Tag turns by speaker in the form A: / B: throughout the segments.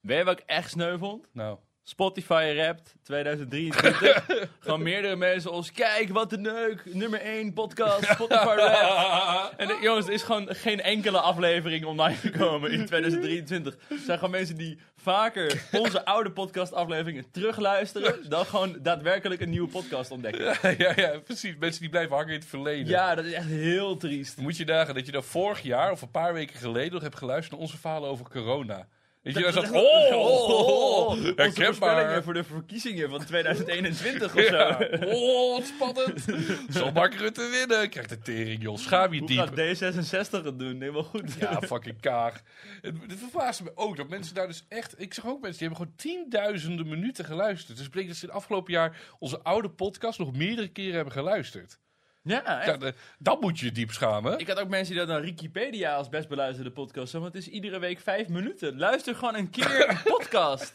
A: Weet je wat ik echt sneu vond?
B: Nou.
A: Spotify Wrapped 2023. Gewoon meerdere mensen ons, kijk wat een neuk, nummer 1 podcast, Spotify Wrapped. En eh, jongens, er is gewoon geen enkele aflevering online gekomen in 2023. Er zijn gewoon mensen die vaker onze oude podcastafleveringen terugluisteren, dan gewoon daadwerkelijk een nieuwe podcast ontdekken.
B: ja, ja, precies. Mensen die blijven hangen in het verleden.
A: Ja, dat is echt heel triest.
B: Dan Moet je nagaan dat je dan vorig jaar of een paar weken geleden nog hebt geluisterd naar onze verhalen over corona. Dat je dan zegt, oh, oh, oh,
A: Onze voorspellingen
B: herkenbaar.
A: voor de verkiezingen van 2021 of zo.
B: Ja. Oh, wat spannend. Zal Mark Rutte winnen? Krijgt de tering, joh. Schaam je
A: Hoe gaat
B: diep.
A: D66 het doen? Helemaal goed.
B: Ja, fucking kaag. Het, het verbaast me ook dat mensen daar dus echt... Ik zag ook mensen die hebben gewoon tienduizenden minuten geluisterd. Dus het betekent dat ze het afgelopen jaar onze oude podcast nog meerdere keren hebben geluisterd.
A: Ja, echt.
B: Ja, de- dat moet je je diep schamen.
A: Ik had ook mensen die dat dan Wikipedia als best beluisterde podcast hadden, want het is iedere week vijf minuten. Luister gewoon een keer een podcast.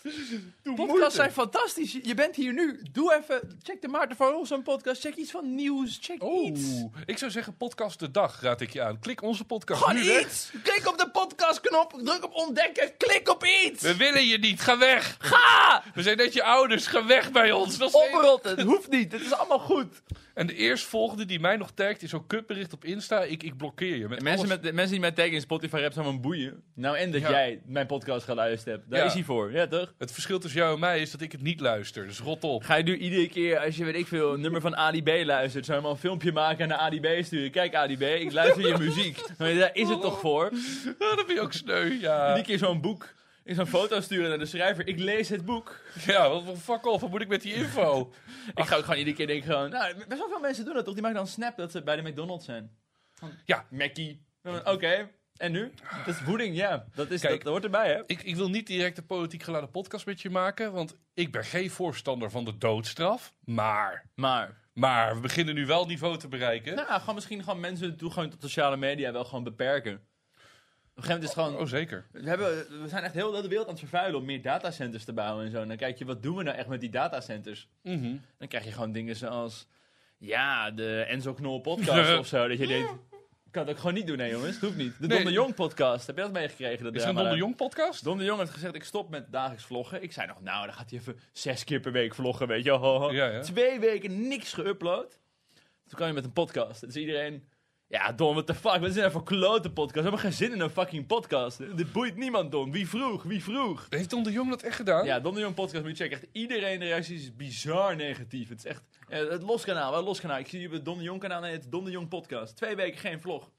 A: Podcasts
B: moeite.
A: zijn fantastisch. Je bent hier nu. Doe even, check de Maarten van Olsen podcast, check iets van nieuws, check iets.
B: Oeh, Oh. ik zou zeggen podcast de dag raad ik je aan. Klik onze podcast
A: Gewoon
B: nu weg.
A: iets! Klik op de podcastknop, druk op ontdekken, klik op iets!
B: We willen je niet, ga weg.
A: Ga!
B: We zijn net je ouders, ga weg bij ons. Dat is
A: Oprotten, het hoeft niet, het is allemaal goed.
B: En de eerstvolgende die mij nog tagt is zo'n kutbericht op Insta. Ik, ik blokkeer je. Met
A: Mensen,
B: alles.
A: met, mensen die mij taggen in Spotify rap zijn van boeien. Nou, en dat
B: Ja.
A: jij mijn podcast geluisterd hebt. Daar
B: Ja.
A: is hij voor, ja toch?
B: Het verschil tussen jou en mij is dat ik het niet luister. Dus rot op.
A: Ga je nu iedere keer, als je weet ik veel, een nummer van ADB luistert, zou je maar een filmpje maken en naar ADB sturen. Kijk ADB, ik luister je muziek. Maar daar is het toch voor?
B: Ah, dat vind je ook sneu, ja.
A: Iedere keer zo'n boek, in zo'n foto sturen naar de schrijver, ik lees het boek.
B: Ja, wat wat- fuck off, wat moet ik met die info?
A: Ik ga ook gewoon iedere keer denken gewoon, nou, best wel veel mensen doen dat toch? Die maken dan een snap dat ze bij de McDonald's zijn. Van,
B: Ja.
A: Mackie. Dan, Oké, en nu? Dat is voeding, ja. Dat, is, dat,
B: Kijk.
A: dat hoort erbij, hè?
B: Ik, ik wil niet direct een politiek geladen podcast met je maken, want ik ben geen voorstander van de doodstraf. Maar,
A: Maar...
B: maar, we beginnen nu wel niveau te bereiken.
A: Nou, gewoon misschien gewoon mensen de toegang tot sociale media wel gewoon beperken. Op een gegeven moment is het gewoon...
B: Oh, zeker.
A: We, hebben, we zijn echt heel de wereld aan het vervuilen om meer datacenters te bouwen en zo. En dan kijk je, wat doen we nou echt met die datacenters?
B: Mhm.
A: Dan krijg je gewoon dingen zoals... Ja, de Enzo Knol podcast of zo. Dat je denkt... Ik kan het ook gewoon niet doen, hè jongens. Het hoeft niet. De
B: Nee.
A: Don de Jong podcast. Heb je dat meegekregen? Dat
B: Is het een
A: drama
B: Don de
A: daar?
B: Jong podcast?
A: Don de Jong heeft gezegd, ik stop met dagelijks vloggen. Ik zei nog, nou, dan gaat hij even zes keer per week vloggen, weet je. wel. Ho, ho.
B: Ja, ja.
A: Twee weken niks geüpload. Toen kwam je met een podcast. Dus iedereen, ja, Don, what the fuck? Wat is dit nou voor klote podcast? We hebben geen zin in een fucking podcast. Dit boeit niemand, Don. Wie vroeg? Wie vroeg?
B: Heeft Don de Jong dat echt gedaan?
A: Ja, Don de Jong podcast moet je checken. Echt iedereen de reacties is bizar negatief. Het is echt eh, het loskanaal, wel loskanaal. Ik zie je op het Don de Jong kanaal en het Don de Jong podcast. Twee weken geen vlog.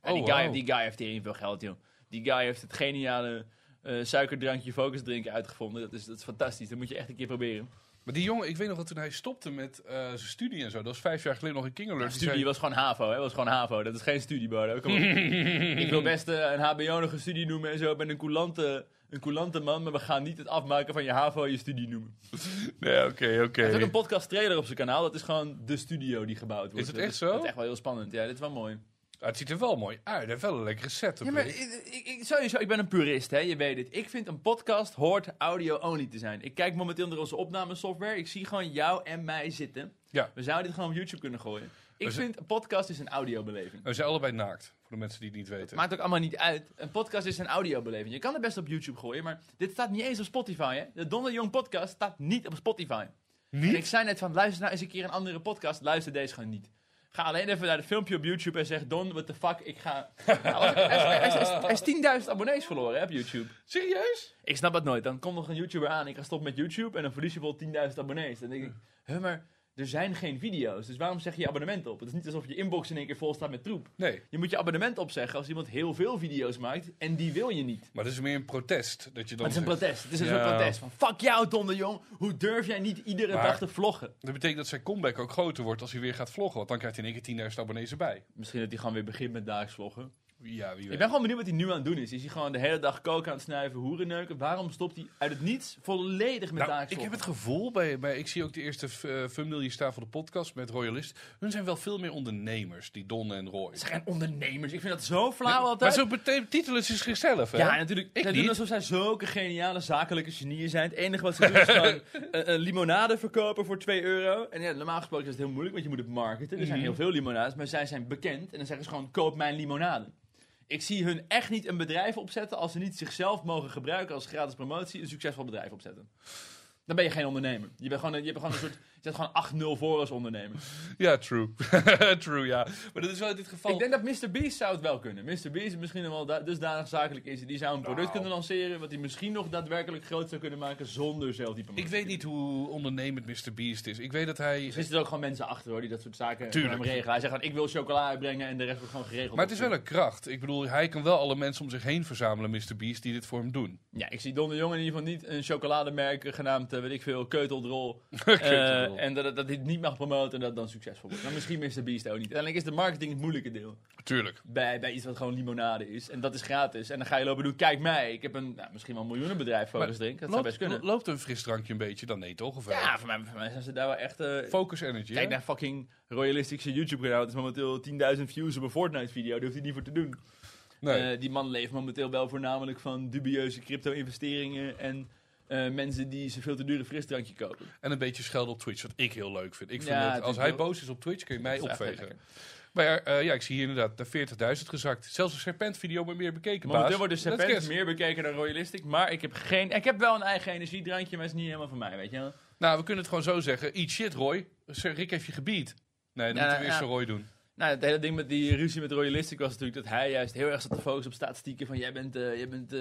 A: En
B: Oh,
A: die,
B: wauw.
A: guy, die guy heeft tering veel geld, joh. Die guy heeft het geniale eh, suikerdrankje focus drinken uitgevonden. Dat is, dat is fantastisch. Dat moet je echt een keer proberen.
B: Maar die jongen, ik weet nog dat toen hij stopte met eh, zijn studie en zo, dat was vijf jaar geleden nog in King Alert. die
A: studie was gewoon HAVO, hè? was gewoon HAVO. Dat is geen studiebode. Kom op. ik wil best eh, een HBO-nige studie noemen en zo. Ik ben een coulante, een coulante man, maar we gaan niet het afmaken van je HAVO je studie noemen.
B: zei- Nee, oké, oké.
A: Er is ook een podcast trailer op zijn kanaal. Dat is gewoon de studio die gebouwd wordt.
B: Is het
A: Dat
B: echt zo?
A: Dat is echt wel heel spannend. Ja, dit is wel mooi.
B: Ah, het ziet er wel mooi uit. Hij heeft wel een lekkere setup.
A: Ja, maar
B: hè?
A: ik, ik, ik- sowieso, ik ben een purist, hè? je weet het. Ik vind een podcast hoort audio-only te zijn. Ik kijk momenteel naar onze opnamesoftware. Ik zie gewoon jou en mij zitten.
B: Ja.
A: We zouden dit gewoon op YouTube kunnen gooien. Ik
B: Dus-
A: vind een podcast is een audiobeleving.
B: We zijn allebei naakt, voor de mensen die het niet weten.
A: Maakt ook allemaal niet uit. Een podcast is een audiobeleving. Je kan het best op YouTube gooien, maar dit staat niet eens op Spotify. Hè? De Don de Jong podcast staat niet op Spotify. En ik
B: Niet?
A: zei net van, luister nou eens een keer een andere podcast. Luister deze gewoon niet. Ga alleen even naar het filmpje op YouTube en zeg... Don, what the fuck, ik ga... Nou, als ik- hij is- hij is- hij is- hij is 10.000 abonnees verloren hè, op YouTube.
B: Serieus?
A: Ik snap het nooit. Dan komt nog een YouTuber aan. Ik ga stoppen met YouTube en dan verlies je wel 10.000 abonnees. Dan denk ik, huh, maar er zijn geen video's. Dus waarom zeg je je abonnement op? Het is niet alsof je inbox in één keer vol staat met troep.
B: Nee,
A: Je moet je abonnement opzeggen als iemand heel veel video's maakt. En die wil je niet.
B: maar dat is meer een protest. Dat je dan
A: Maar het is een
B: zegt-
A: protest. Het is een
B: Ja.
A: soort protest van... Fuck jou, Don de Jong. Hoe durf jij niet iedere
B: Maar-
A: dag te vloggen?
B: Dat betekent dat zijn comeback ook groter wordt als hij weer gaat vloggen. Want dan krijgt hij in één keer 10.000 abonnees erbij.
A: Misschien dat hij gewoon weer begint met dagelijks vloggen.
B: Ja, wie
A: Ik
B: weet.
A: ben gewoon benieuwd wat hij nu aan het doen is. Is hij gewoon de hele dag koken aan het snuiven, hoeren neuken? Waarom stopt hij uit het niets volledig met
B: Nou,
A: dagelijks
B: ik heb
A: vloggen?
B: het gevoel, bij, bij, ik zie ook de eerste f- eh, thumbnail hier staan van de podcast met Royalist. Hun zijn wel veel meer ondernemers, die Don en Roy.
A: Ze zijn ondernemers. Ik vind dat zo flauw
B: Maar
A: altijd.
B: zo betekent titelen ze zichzelf, hè?
A: ja, en natuurlijk.
B: Ik
A: zij
B: niet.
A: doen alsof zij zulke geniale zakelijke genieën zijn. Het enige wat ze doen is gewoon een, een limonade verkopen voor 2 euro. En ja, normaal gesproken is het heel moeilijk, want je moet het marketen. Er zijn
B: Mhm.
A: heel veel limonades, maar zij zijn bekend. En dan zeggen ze gewoon, koop mijn limonade. Ik zie hun echt niet een bedrijf opzetten als ze niet zichzelf mogen gebruiken als gratis promotie een succesvol bedrijf opzetten. Dan ben je geen ondernemer. Je bent gewoon een, je bent gewoon een soort. Je zet gewoon 8-0 voor als ondernemer.
B: Ja, true. true, ja. Maar dat is wel in dit geval...
A: Ik denk dat Mr. Beast zou het wel kunnen. Mr. Beast misschien wel da- dusdanig zakelijk is. Die zou een product
B: Nou.
A: kunnen lanceren. Wat hij misschien nog daadwerkelijk groot zou kunnen maken zonder zelf die promotie.
B: Ik weet niet hoe ondernemend Mr. Beast is. Ik weet dat hij...
A: Er zitten ook gewoon mensen achter hoor, die dat soort zaken
B: Tuurlijk.
A: voor hem regelen. Hij zegt gewoon, ik wil chocola uitbrengen en de rest wordt gewoon geregeld.
B: Maar het is wel een kracht. Ik bedoel, hij kan wel alle mensen om zich heen verzamelen, Mr. Beast, die dit voor hem doen.
A: Ja, ik zie Don de Jong in ieder geval niet een chocolademerk eh, genaamd, eh, weet ik veel, Keuteldrol.
B: Keuteldrol.
A: Eh, en dat, dat, dat hij het niet mag promoten en dat het dan succesvol wordt. Maar misschien Mr. Beast ook niet. Uiteindelijk is de marketing het moeilijke deel.
B: Tuurlijk.
A: Bij, bij iets wat gewoon limonade is. En dat is gratis. En dan ga je lopen doen, kijk mij, ik heb een, nou, misschien wel een miljoenenbedrijf focus drink. Dat zou best kunnen.
B: loopt een frisdrankje een beetje? Dan nee, toch? Of wel?
A: Ja, voor mij, voor mij zijn ze daar wel echt... eh,
B: Focus Energy.
A: Kijk
B: hè?
A: naar fucking royalistische YouTube-kanaal. Het is momenteel 10.000 views op een Fortnite-video. Daar hoeft hij niet voor te doen.
B: Nee.
A: Eh, die man leeft momenteel wel voornamelijk van dubieuze crypto-investeringen en eh, mensen die ze veel te dure frisdrankje kopen.
B: En een beetje schelden op Twitch, wat ik heel leuk vind. Ik vind
A: Ja,
B: dat
A: het
B: als
A: is
B: hij
A: wel-
B: boos is op Twitch, kun je mij
A: Dat is echt
B: opvegen.
A: lekker.
B: Maar eh, ja, ik zie hier inderdaad de 40.000 gezakt. Zelfs een serpent-video wordt meer bekeken, baas.
A: Momenteel wordt dus
B: Let's
A: Serpent
B: get.
A: meer bekeken dan Royalistic, maar ik heb geen... Ik heb wel een eigen energiedrankje, maar het is niet helemaal van mij, weet je wel.
B: Nou, we kunnen het gewoon zo zeggen. Eat shit, Roy. Sir Rick heeft je gebied. Nee, dan
A: Ja,
B: moeten we eerst
A: ja.
B: zo Roy doen.
A: Nou, het hele ding met die ruzie met Royalistic was natuurlijk dat hij juist heel erg zat te focussen op statistieken van jij bent, eh, jij bent eh,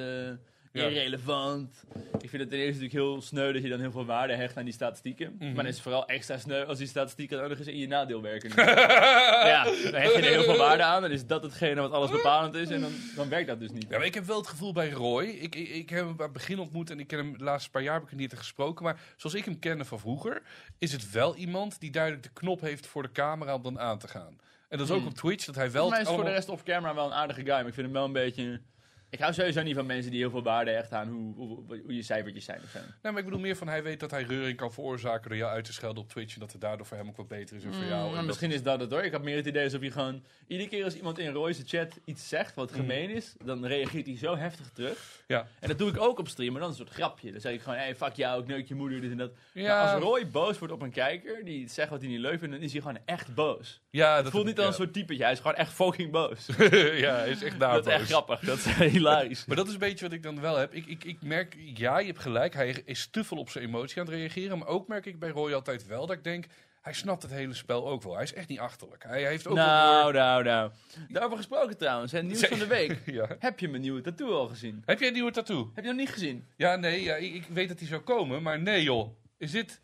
A: irrelevant. Ik vind het ten eerste natuurlijk heel sneu dat je dan heel veel waarde hecht aan die statistieken.
B: Mhm.
A: Maar dan is het vooral extra sneu als die statistieken ook nog eens in je nadeel werken. ja, dan hecht je er heel veel waarde aan. Dan is dat hetgene wat alles bepalend is en dan, dan werkt dat dus niet.
B: Ja, maar ik heb wel het gevoel bij Roy. Ik, ik, ik heb hem aan het begin ontmoet en ik ken hem de laatste paar jaar heb ik hem niet echt gesproken. Maar zoals ik hem kende van vroeger, is het wel iemand die duidelijk de knop heeft voor de camera om dan aan te gaan. En dat is ook op Twitch, dat hij wel...
A: Hmm. Volgens mij is
B: het
A: het voor de
B: allemaal-
A: rest off-camera wel een aardige guy, maar ik vind hem wel een beetje... Ik hou sowieso niet van mensen die heel veel waarde hechten aan hoe, hoe, hoe je cijfertjes zijn. of zo.
B: Nee, maar ik bedoel meer van hij weet dat hij reuring kan veroorzaken door jou uit te schelden op Twitch. En dat het daardoor voor hem ook wat beter is en voor jou.
A: Mm,
B: En
A: misschien is dat het hoor. Ik had meer het idee alsof je gewoon... Iedere keer als iemand in Roy's chat iets zegt wat gemeen is... dan reageert hij zo heftig terug.
B: dat- Mm. ja.
A: En dat doe ik ook op stream, maar dan een soort grapje. Dan zeg ik gewoon, hey, fuck jou, ik neuk je moeder, dit en dat.
B: Ja.
A: Maar Nou, als Roy boos wordt op een kijker die iets zegt wat hij niet leuk vindt... dan is hij gewoon echt boos.
B: ja, dat
A: Het voelt niet
B: ja.
A: als een soort typetje, hij is gewoon echt fucking boos.
B: ja, hij is echt daar
A: dat is echt
B: boos.
A: grappig, dat is hilarisch.
B: Maar dat is een beetje wat ik dan wel heb. Ik, ik, ik merk, ja, je hebt gelijk. Hij is te veel op zijn emotie aan het reageren. Maar ook merk ik bij Roy altijd wel dat ik denk... Hij snapt het hele spel ook wel. Hij is echt niet achterlijk. Hij heeft ook wel
A: Nou, nou, nou. Daarover gesproken trouwens, hè, nieuws van de week.
B: door- Ja.
A: Heb je mijn nieuwe tattoo al gezien?
B: Heb jij een nieuwe tattoo?
A: Heb je nog niet gezien?
B: Ja, nee, ja, ik, ik weet dat hij zou komen. Maar nee, joh. Is dit...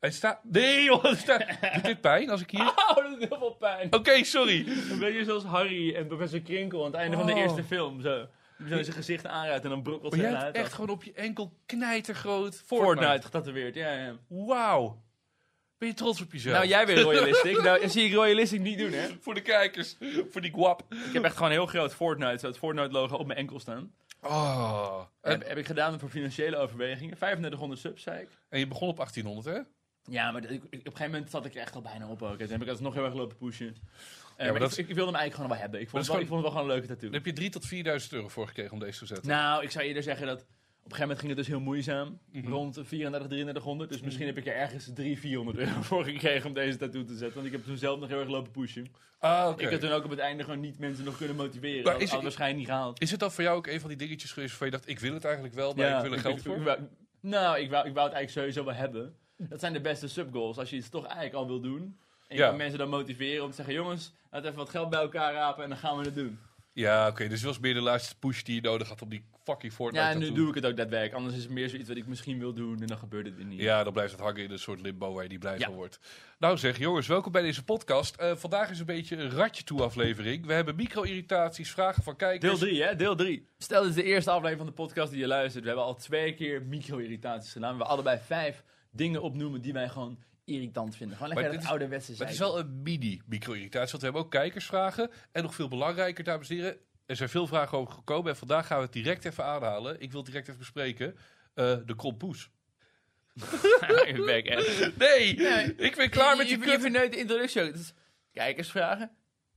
B: Hij staat... Nee, joh. het staat... Doet dit pijn als ik hier... Oké,
A: Oh, dat doet heel veel pijn.
B: sorry.
A: Een beetje zoals Harry en professor Krinkel aan het einde van de
B: Oh.
A: eerste film. Zo. Die Zo zijn gezicht aanraakt en dan brokkelt
B: Maar
A: zijn
B: jij
A: huid
B: hebt echt
A: echt
B: gewoon op je enkel knijtergroot Fortnite.
A: Fortnite getatoeëerd, ja, ja.
B: Wauw. Ben je trots op jezelf?
A: Nou, jij weer Royalistic. nou, zie ik Royalistic niet doen, hè.
B: Voor de kijkers. Voor die guap.
A: Ik heb echt gewoon heel groot Fortnite, zo het Fortnite-logo op mijn enkel staan.
B: Oh. En,
A: Heb, heb ik gedaan voor financiële overwegingen. 3500 subs, zei ik.
B: en je begon op 1800, hè?
A: Ja, maar dat- ik- ik- op een gegeven moment zat ik er echt al bijna op ook. En toen heb ik alsnog heel erg lopen pushen. Eh, maar
B: dat
A: ik,
B: is-
A: ik wilde hem eigenlijk gewoon wel hebben. Ik vond,
B: Maar
A: het
B: dat
A: wel,
B: is
A: ik vond het wel gewoon een leuke tattoo.
B: Dan heb je 3 tot 4000 euro voor gekregen om deze te zetten.
A: Nou, ik zou eerder zeggen dat op een gegeven moment ging het dus heel moeizaam.
B: Mhm.
A: Rond 34, 3300. Dus misschien heb ik er ergens 300, 400 euro voor gekregen om deze tattoo te zetten. Want ik heb toen zelf nog heel erg lopen pushen.
B: ah, oké.
A: Ik heb toen ook op het einde gewoon niet mensen nog kunnen motiveren.
B: Maar
A: Dat
B: is-
A: had waarschijnlijk niet gehaald.
B: Is het dan voor jou ook een van die dingetjes geweest waarvan je dacht, ik wil het eigenlijk wel, maar ik wil er geld voor?
A: ik wou- nou, ik wou, ik wou het eigenlijk sowieso wel hebben. Dat zijn de beste subgoals. Als je iets toch eigenlijk al wil doen. En je
B: Ja.
A: kan mensen dan motiveren om te zeggen... jongens, laten we even wat geld bij elkaar rapen en dan gaan we het doen.
B: Ja, oké. dus het was meer de laatste push die je nodig had om die fucking Fortnite
A: Ja, en nu
B: tattoo.
A: doe ik het ook daadwerkelijk. Anders is het meer zoiets wat ik misschien wil doen en dan gebeurt het weer niet.
B: Ja, dan blijft het hangen in een soort limbo waar je niet blij
A: Ja.
B: van wordt. Nou zeg, jongens, welkom bij deze podcast. Eh, vandaag is een beetje een ratje toe aflevering. We hebben micro-irritaties, vragen van kijkers.
A: Deel 3, hè? Deel 3. Dus- Stel, dit is de eerste aflevering van de podcast die je luistert. We hebben al twee keer micro-irritaties gedaan. We allebei vijf dingen opnoemen die wij gewoon irritant vinden. Gewoon lekker
B: dit
A: dat
B: is-
A: ouderwetse
B: Maar
A: zijn.
B: het is wel een mini-micro-irritatie, want we hebben ook kijkersvragen. En nog veel belangrijker, dames en heren, er zijn veel vragen over gekomen. En vandaag gaan we het direct even aanhalen. Ik wil het direct even bespreken. Eh, de krompoes.
A: Ik ben echt...
B: Nee, ik ben klaar met die
A: je, je, je
B: kut.
A: verneukt de introductie ook. Het is kijkersvragen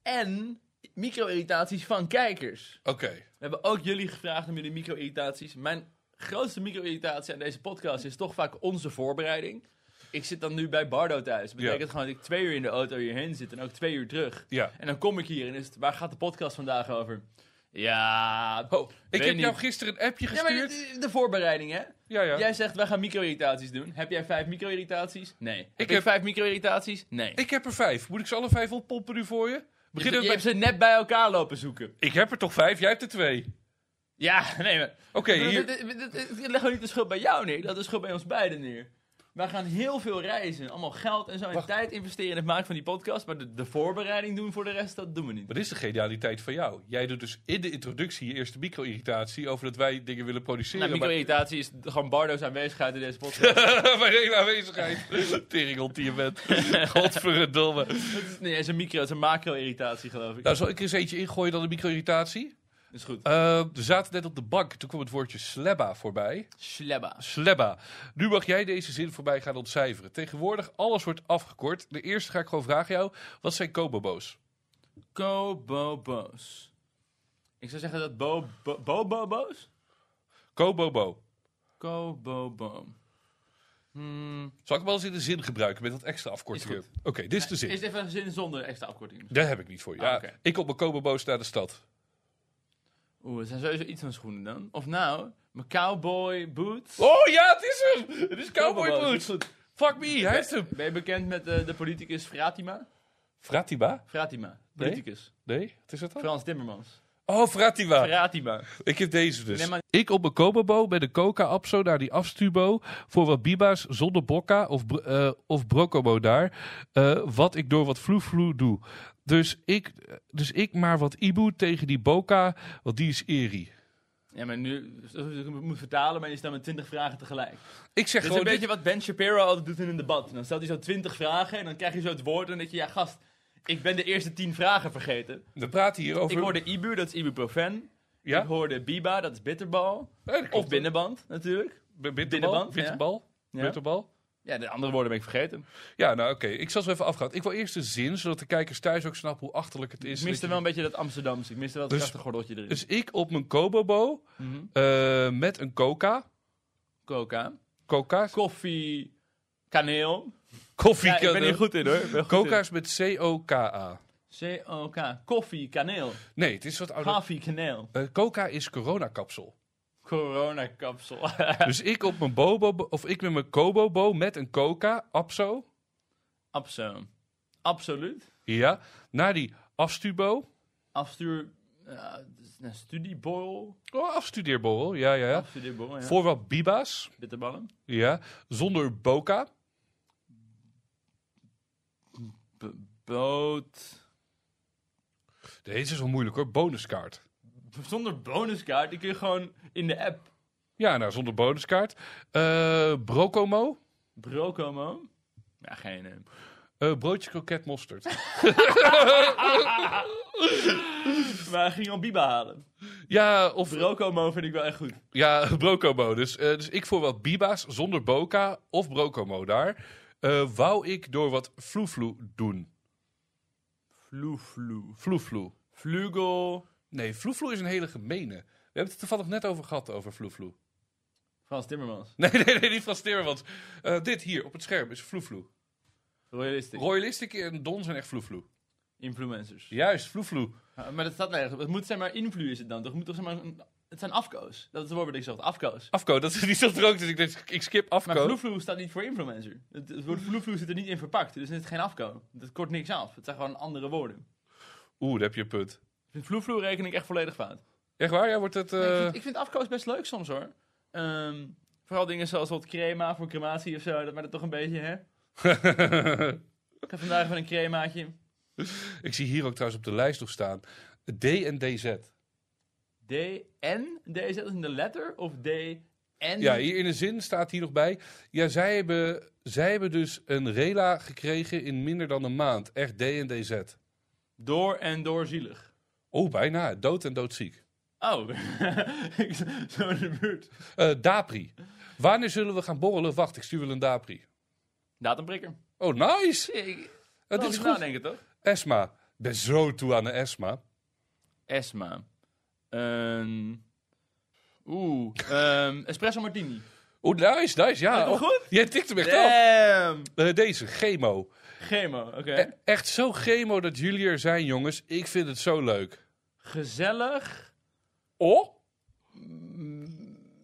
A: en micro-irritaties van kijkers.
B: Oké,
A: We hebben ook jullie gevraagd om jullie micro-irritaties. Mijn grootste micro-irritatie aan deze podcast is toch vaak onze voorbereiding. ik zit dan nu bij Bardo thuis. Dat betekent
B: Ja.
A: gewoon dat ik twee uur in de auto hierheen zit en ook twee uur terug.
B: Ja.
A: En dan kom ik hier en is het, waar gaat de podcast vandaag over? Ja,
B: Oh, ik
A: Weet
B: heb
A: niet.
B: jou gisteren een appje
A: ja maar
B: gestuurd.
A: de, de voorbereiding hè?
B: Ja, ja.
A: Jij zegt, wij gaan micro-irritaties doen. Heb jij vijf micro-irritaties? Nee. Heb ik
B: heb-
A: vijf micro-irritaties? Nee.
B: Ik heb er vijf. Moet ik ze alle vijf oppompen nu voor je?
A: je,
B: Beginnen we
A: je
B: bij...
A: hebt ze net bij elkaar lopen zoeken.
B: Ik heb er toch vijf? Jij hebt er twee.
A: Ja, nee, maar...
B: Oké, hier.
A: Nou, Dit- dit- dit- dit- dit leggen we niet de schuld bij jou neer, dat is de schuld bij ons beiden neer. Wij gaan heel veel reizen, allemaal geld en zo, en
B: Wacht.
A: tijd investeren in het maken van die podcast, maar de, de voorbereiding doen voor de rest, dat doen we niet.
B: Maar dit is de genialiteit van jou. Jij doet dus in de introductie je eerste micro-irritatie over dat wij dingen willen produceren.
A: Nou,
B: maar-
A: micro-irritatie is gewoon Bardo's aanwezigheid in deze podcast.
B: Mijn hele aanwezigheid. Teringel die je bent. Godverdomme.
A: Het is niet eens een micro, het is een macro-irritatie, geloof ik. Dat
B: Nou, zal ik er eens eentje ingooien dan de micro-irritatie?
A: is goed.
B: Eh, we zaten net op de bank. Toen kwam het woordje slebba voorbij.
A: Slebba.
B: Slebba. Nu mag jij deze zin voorbij gaan ontcijferen. Tegenwoordig, alles wordt afgekort. De eerste ga ik gewoon vragen jou. Wat zijn kobobo's?
A: Kobobo's. Ik zou zeggen dat bo, bo, bobobo's?
B: Kobobo.
A: Kobobo. Hmm.
B: Zal ik hem wel eens in de zin gebruiken met dat extra afkortingen?
A: Is
B: Oké, dit is de
A: Is
B: zin.
A: het even een zin zonder extra afkorting?
B: Daar heb ik niet voor je.
A: Ah,
B: Ja,
A: oké.
B: Ik op mijn kobobo's naar de stad.
A: Oeh, het zijn sowieso iets van schoenen dan. Of nou, mijn cowboy boots.
B: Oh ja, het is hem! Het is Cowboy
A: Kobobo's,
B: Boots! Fuck me, hij heeft hem!
A: Ben je bekend met eh, de politicus Fratima?
B: Fratiba?
A: Fratima, politicus.
B: Nee, wat is dat dan?
A: Frans Timmermans.
B: Oh, Fratiba.
A: Fratima.
B: Ik heb deze dus.
A: Nee, maar-
B: Ik op een kobobo met een coca-apso naar die afstubo voor wat biba's zonder bokka of, br- eh, of brocobo daar. eh, wat ik door wat vloe-vloe doe. Dus ik, dus ik maar wat ibu tegen die boka, want die is eri.
A: Ja, maar nu, eh, ik moet vertalen, maar je staat met 20 vragen tegelijk.
B: Ik zeg
A: Dit is een
B: gewoon
A: beetje
B: dit-
A: wat Ben Shapiro altijd doet in een debat. Dan stelt hij zo 20 vragen en dan krijg je zo het woord en dan denk je, ja gast, ik ben de eerste 10 vragen vergeten.
B: We praten hier over...
A: Ik hoorde Ibu, dat is ibuprofen.
B: Ja?
A: Ik hoorde Biba, dat is bitterbal.
B: Nee, dat klopt.
A: Of binnenband, natuurlijk.
B: B-
A: binnenband, ja.
B: Bitterbal. Bitterbal.
A: Ja.
B: Bitterbal.
A: Ja, de andere woorden ben ik vergeten.
B: Ja, nou oké. Ik zal zo even afgaan. Ik wil eerst de zin, zodat de kijkers thuis ook snappen hoe achterlijk het is.
A: Ik miste
B: dat je-
A: wel een beetje dat Amsterdamse. Ik miste wel het
B: Dus-
A: krachtige gordeltje erin.
B: Dus ik op mijn kobobo
A: Mhm.
B: eh, met een coca.
A: Coca.
B: Coca's.
A: Koffie. Kaneel.
B: Koffie.
A: Ja, ik ben hier goed in hoor. Ik ben goed
B: Coca's met C-O-K-A.
A: in. C-O-K. Koffie, kaneel.
B: Nee, het is wat ouder.
A: Koffie, kaneel.
B: Eh, coca is coronakapsel.
A: Coronakapsel.
B: dus ik op mijn bobo, of ik met mijn kobobo met een coca, apso,
A: Abso. Absoluut.
B: ja, naar die afstubo.
A: Afstuur. eh, een studieborrel.
B: Oh, afstudeerborrel, ja, ja, ja.
A: Afstudeerborrel, ja.
B: Voor wat biba's,
A: Bitterballen.
B: ja, zonder boca.
A: B- boot.
B: Deze is wel moeilijk hoor, bonuskaart.
A: Zonder bonuskaart. Die kun je gewoon in de app.
B: Ja, nou, zonder bonuskaart. Eh, brocomo.
A: Brocomo. Ja, geen. eh.
B: Eh, broodje kroket mosterd.
A: Maar ging al Biba halen.
B: ja, of
A: Brocomo vind ik wel echt goed.
B: ja, brocomo. Dus, eh, dus ik voor wat biba's zonder boca of brocomo daar. Eh, wou ik door wat vloevloe doen.
A: Vloe-vloe.
B: Vloevloe.
A: Vlugel.
B: Nee, vloevloe is een hele gemene. We hebben het er toevallig net over gehad, over vloevloe.
A: Frans Timmermans.
B: Nee, nee, nee, niet van Timmermans. Eh, dit hier op het scherm is vloevloe.
A: Royalistic.
B: Royalistic en Don zijn echt vloevloe.
A: Influencers.
B: Juist, vloevloe.
A: Ja, maar dat staat nergens. op. Het moet zeg maar influ is het dan. toch? Het, moet toch, zeg maar, een- het zijn afkoos. Dat is het woord dat ik zeg. Afkoos.
B: Afko, dat is niet zo droog, dus ik, dacht, ik skip afko.
A: Maar vloevloe staat niet voor influencer. Het, het woord vloevloe zit er niet in verpakt. Dus het is geen afko. Dat kort niks af. Het zijn gewoon andere woorden.
B: Oeh, daar heb je een punt.
A: Ik vind vloevloe reken ik echt volledig fout.
B: Echt waar? Ja, wordt het... eh,
A: Nee, ik, vind, ik vind afkoos best leuk soms hoor. Ehm, vooral dingen zoals wat crema voor crematie of zo. Dat, maar dat toch een beetje hè. Ik heb vandaag even een cremaatje.
B: ik zie hier ook trouwens op de lijst nog staan. D en DZ.
A: D en deze dat is in de letter of D en
B: Ja, hier in de zin staat hier nog bij. Ja, zij hebben, zij hebben dus een rela gekregen in minder dan een maand. Echt D en DZ.
A: door en door zielig.
B: Oh, bijna. Dood en doodziek.
A: Oh, ik zat zo in de buurt.
B: Eh, Dapri. Wanneer zullen we gaan borrelen? Wacht, ik stuur wel een Dapri.
A: Datumprikker.
B: Oh, nice.
A: Ik,
B: Eh,
A: Oh,
B: dit is goed.
A: nadenken, toch?
B: Esma. Ik ben zo toe aan de Esma.
A: Esma. Ehm, Oeh. ehm, espresso martini.
B: Oh, nice, nice. Ja,
A: Heb ik hem
B: Oh,
A: goed?
B: Jij tikt hem echt af.
A: Damn!
B: Eh, deze, chemo.
A: Chemo, oké.
B: E- echt zo chemo dat jullie er zijn, jongens. Ik vind het zo leuk.
A: Gezellig.
B: Oh?
A: Mm,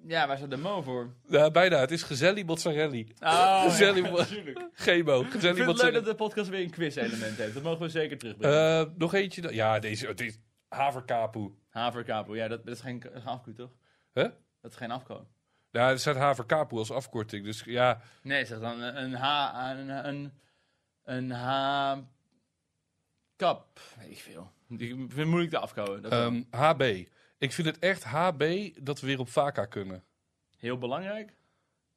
A: Ja, waar staat de mo voor?
B: Ja, bijna. Het is gezellig mozzarella.
A: Oh,
B: Gezellig mo-
A: natuurlijk.
B: Chemo.
A: Ik
B: Gezellig
A: vind het leuk
B: mozzarella.
A: dat de podcast weer een quiz-element heeft. Dat mogen we zeker terugbrengen.
B: Eh, nog eentje. dan. Ja, deze. Het is haverkapoe.
A: Haverkapel, ja, dat, dat is geen dat is geen afkoe, toch?
B: Huh?
A: Dat is geen afkoe.
B: Ja, er staat haverkapoe als afkorting. Dus ja,
A: Nee, zeg dan eh, een, een H... Een, een, een H... Kap. Weet ik veel. Ik vind het moeilijk te afkomen. Dat is wel
B: ehm, HB. Ik vind het echt HB dat we weer op Vaca kunnen.
A: heel belangrijk.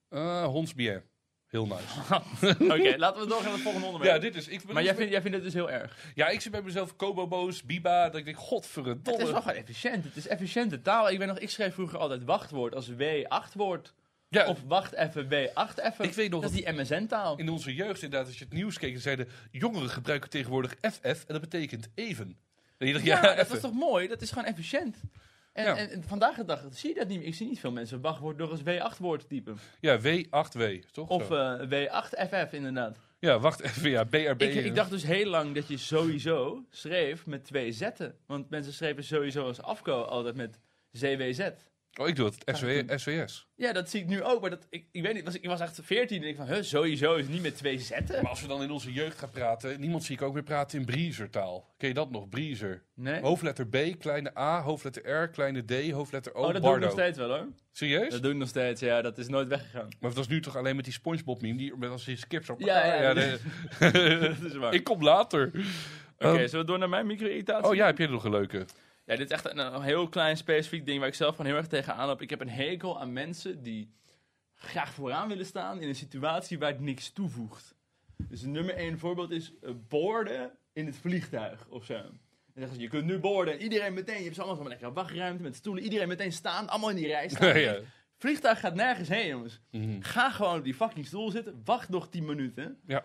B: Eh Hons bien. Heel nice.
A: Oké, laten we doorgaan naar het volgende onderwerp.
B: Ja, dit is. Ik ben
A: maar jij vindt, jij vindt het dus heel erg.
B: Ja, ik zit bij mezelf Kobo boos, Biba. Dat ik denk, godverdomme.
A: Het is wel gewoon efficiënt. Het is efficiënte taal. Ik weet nog, ik schreef vroeger altijd wachtwoord als W8-woord.
B: ja,
A: Of wacht even, W8 even.
B: Ik weet nog
A: Dat is die MSN-taal.
B: in onze jeugd inderdaad, als je het nieuws keek, dan zeiden jongeren gebruiken tegenwoordig FF en dat betekent even. En je dacht, ja,
A: Ja, dat
B: even.
A: is toch mooi? Dat is gewoon efficiënt. En,
B: Ja.
A: en, en vandaag de dag zie je dat niet meer. Ik zie niet veel mensen wachtwoord door als W8-woord typen.
B: Ja, W8W, toch?
A: Of
B: Zo.
A: eh, W8FF inderdaad.
B: ja, wacht even, ja, BRB.
A: Ik, ik dacht dus heel lang dat je sowieso schreef met twee zetten. Want mensen schreven sowieso als afko altijd met ZWZ.
B: Oh, ik doe het, SW,
A: toen-
B: SWS.
A: Ja, dat zie ik nu ook. Maar dat, ik, ik weet niet, was, ik was echt 14 en ik van, huh, sowieso is het niet met twee zetten?
B: Maar als we dan in onze jeugd gaan praten, niemand zie ik ook meer praten in Breezertaal. Ken je dat nog, Breezer?
A: Nee.
B: Hoofdletter B, kleine A, hoofdletter R, kleine D, hoofdletter O,
A: Oh, dat doe ik
B: Bardo.
A: nog steeds wel hoor.
B: Serieus?
A: Dat doe ik nog steeds, ja. Dat is nooit weggegaan.
B: Maar dat is nu toch alleen met die Spongebob meme, die met als die skips op.
A: Ja, ja,
B: Ah,
A: dat-
B: nee.
A: dat is waar.
B: ik kom later.
A: Oké,
B: Ehm,
A: zullen we door naar mijn micro-irritatie?
B: oh ja, heb jij nog een leuke?
A: Ja, dit is echt een, een heel klein specifiek ding waar ik zelf van heel erg tegenaan loop. Ik heb een hekel aan mensen die graag vooraan willen staan in een situatie waar het niks toevoegt. Dus een nummer één voorbeeld is eh, boorden in het vliegtuig of zo. Dan zeggen ze, je kunt nu boorden. Iedereen meteen, je hebt ze allemaal zo'n lekkere wachtruimte met stoelen. Iedereen meteen staan, allemaal in die rij staan.
B: ja.
A: Vliegtuig gaat nergens heen, jongens.
B: Mhm.
A: Ga gewoon op die fucking stoel zitten. Wacht nog 10 minuten.
B: Ja.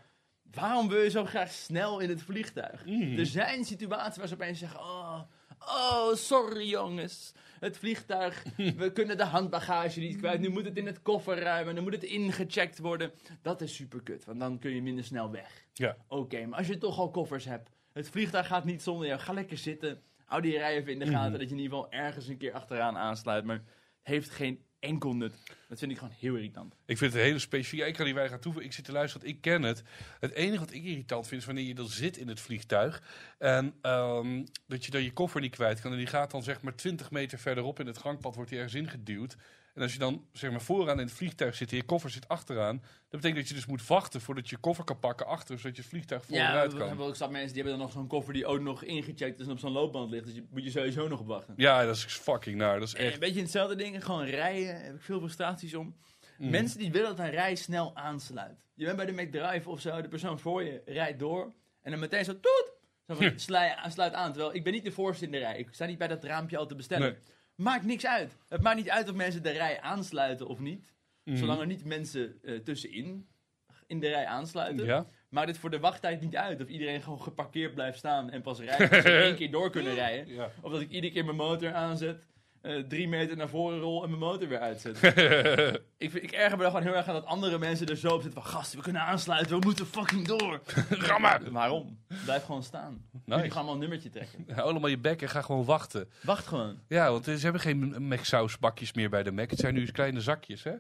A: Waarom wil je zo graag snel in het vliegtuig?
B: Mhm.
A: Er zijn situaties waar ze opeens zeggen: Oh, oh sorry jongens. Het vliegtuig, we kunnen de handbagage niet kwijt. Nu moet het in het kofferruim en dan moet het ingecheckt worden. Dat is super kut, want dan kun je minder snel weg.
B: Ja.
A: Oké, maar als je toch al koffers hebt, het vliegtuig gaat niet zonder jou. Ga lekker zitten. Hou die rij even in de gaten, dat je in ieder geval ergens een keer achteraan aansluit. Maar het heeft geen enkel nut. Dat vind ik gewoon heel irritant.
B: Ik vind het een hele specifiek. Ik kan hier weinig aan toevoegen. Ik zit te luisteren, want ik ken het. Het enige wat ik irritant vind is wanneer je dan zit in het vliegtuig. En ehm, dat je dan je koffer niet kwijt kan. En die gaat dan zeg maar 20 meter verderop in het gangpad, wordt die ergens ingeduwd. En als je dan zeg maar vooraan in het vliegtuig zit en je koffer zit achteraan. Dat betekent dat je dus moet wachten voordat je je koffer kan pakken achter. Zodat je het vliegtuig vooruit
A: we
B: kan.
A: hebben ook zat mensen die hebben dan nog zo'n koffer die ook nog ingecheckt is en op zo'n loopband ligt. Dus je moet je sowieso nog op wachten.
B: Ja, dat is fucking naar. Dat is
A: Eh,
B: echt.
A: Een beetje hetzelfde ding, gewoon rijden. Daar heb ik veel frustraties om.
B: Mm.
A: Mensen die willen dat een rij snel aansluit. Je bent bij de McDrive of zo, de persoon voor je rijdt door. En dan meteen zo, toet! Zo
B: Hm.
A: van, sla- sluit aan. Terwijl ik ben niet de voorste in de rij. Ik sta niet bij dat raampje al te bestellen.
B: Nee.
A: Maakt niks uit. Het maakt niet uit of mensen de rij aansluiten of niet.
B: Mhm.
A: Zolang er niet mensen eh, tussenin in de rij aansluiten.
B: Ja?
A: Maar dit voor de wachttijd niet uit. Of iedereen gewoon geparkeerd blijft staan en pas rijdt als ze één keer door kunnen rijden.
B: Ja.
A: Of dat ik iedere keer mijn motor aanzet, eh, drie meter naar voren rol en mijn motor weer uitzet. ik, vind- ik erger me daar gewoon heel erg aan dat andere mensen er zo op zitten van... Gast, we kunnen aansluiten, we moeten fucking door.
B: Rammen!
A: Waarom? Blijf gewoon staan. Jullie gaan
B: Nice.
A: allemaal een nummertje trekken.
B: Hou allemaal je bek en ga gewoon wachten.
A: Wacht gewoon.
B: Ja, want eh, ze hebben geen Mac-sausbakjes meer bij de Mac. Het zijn nu eens kleine zakjes, hè?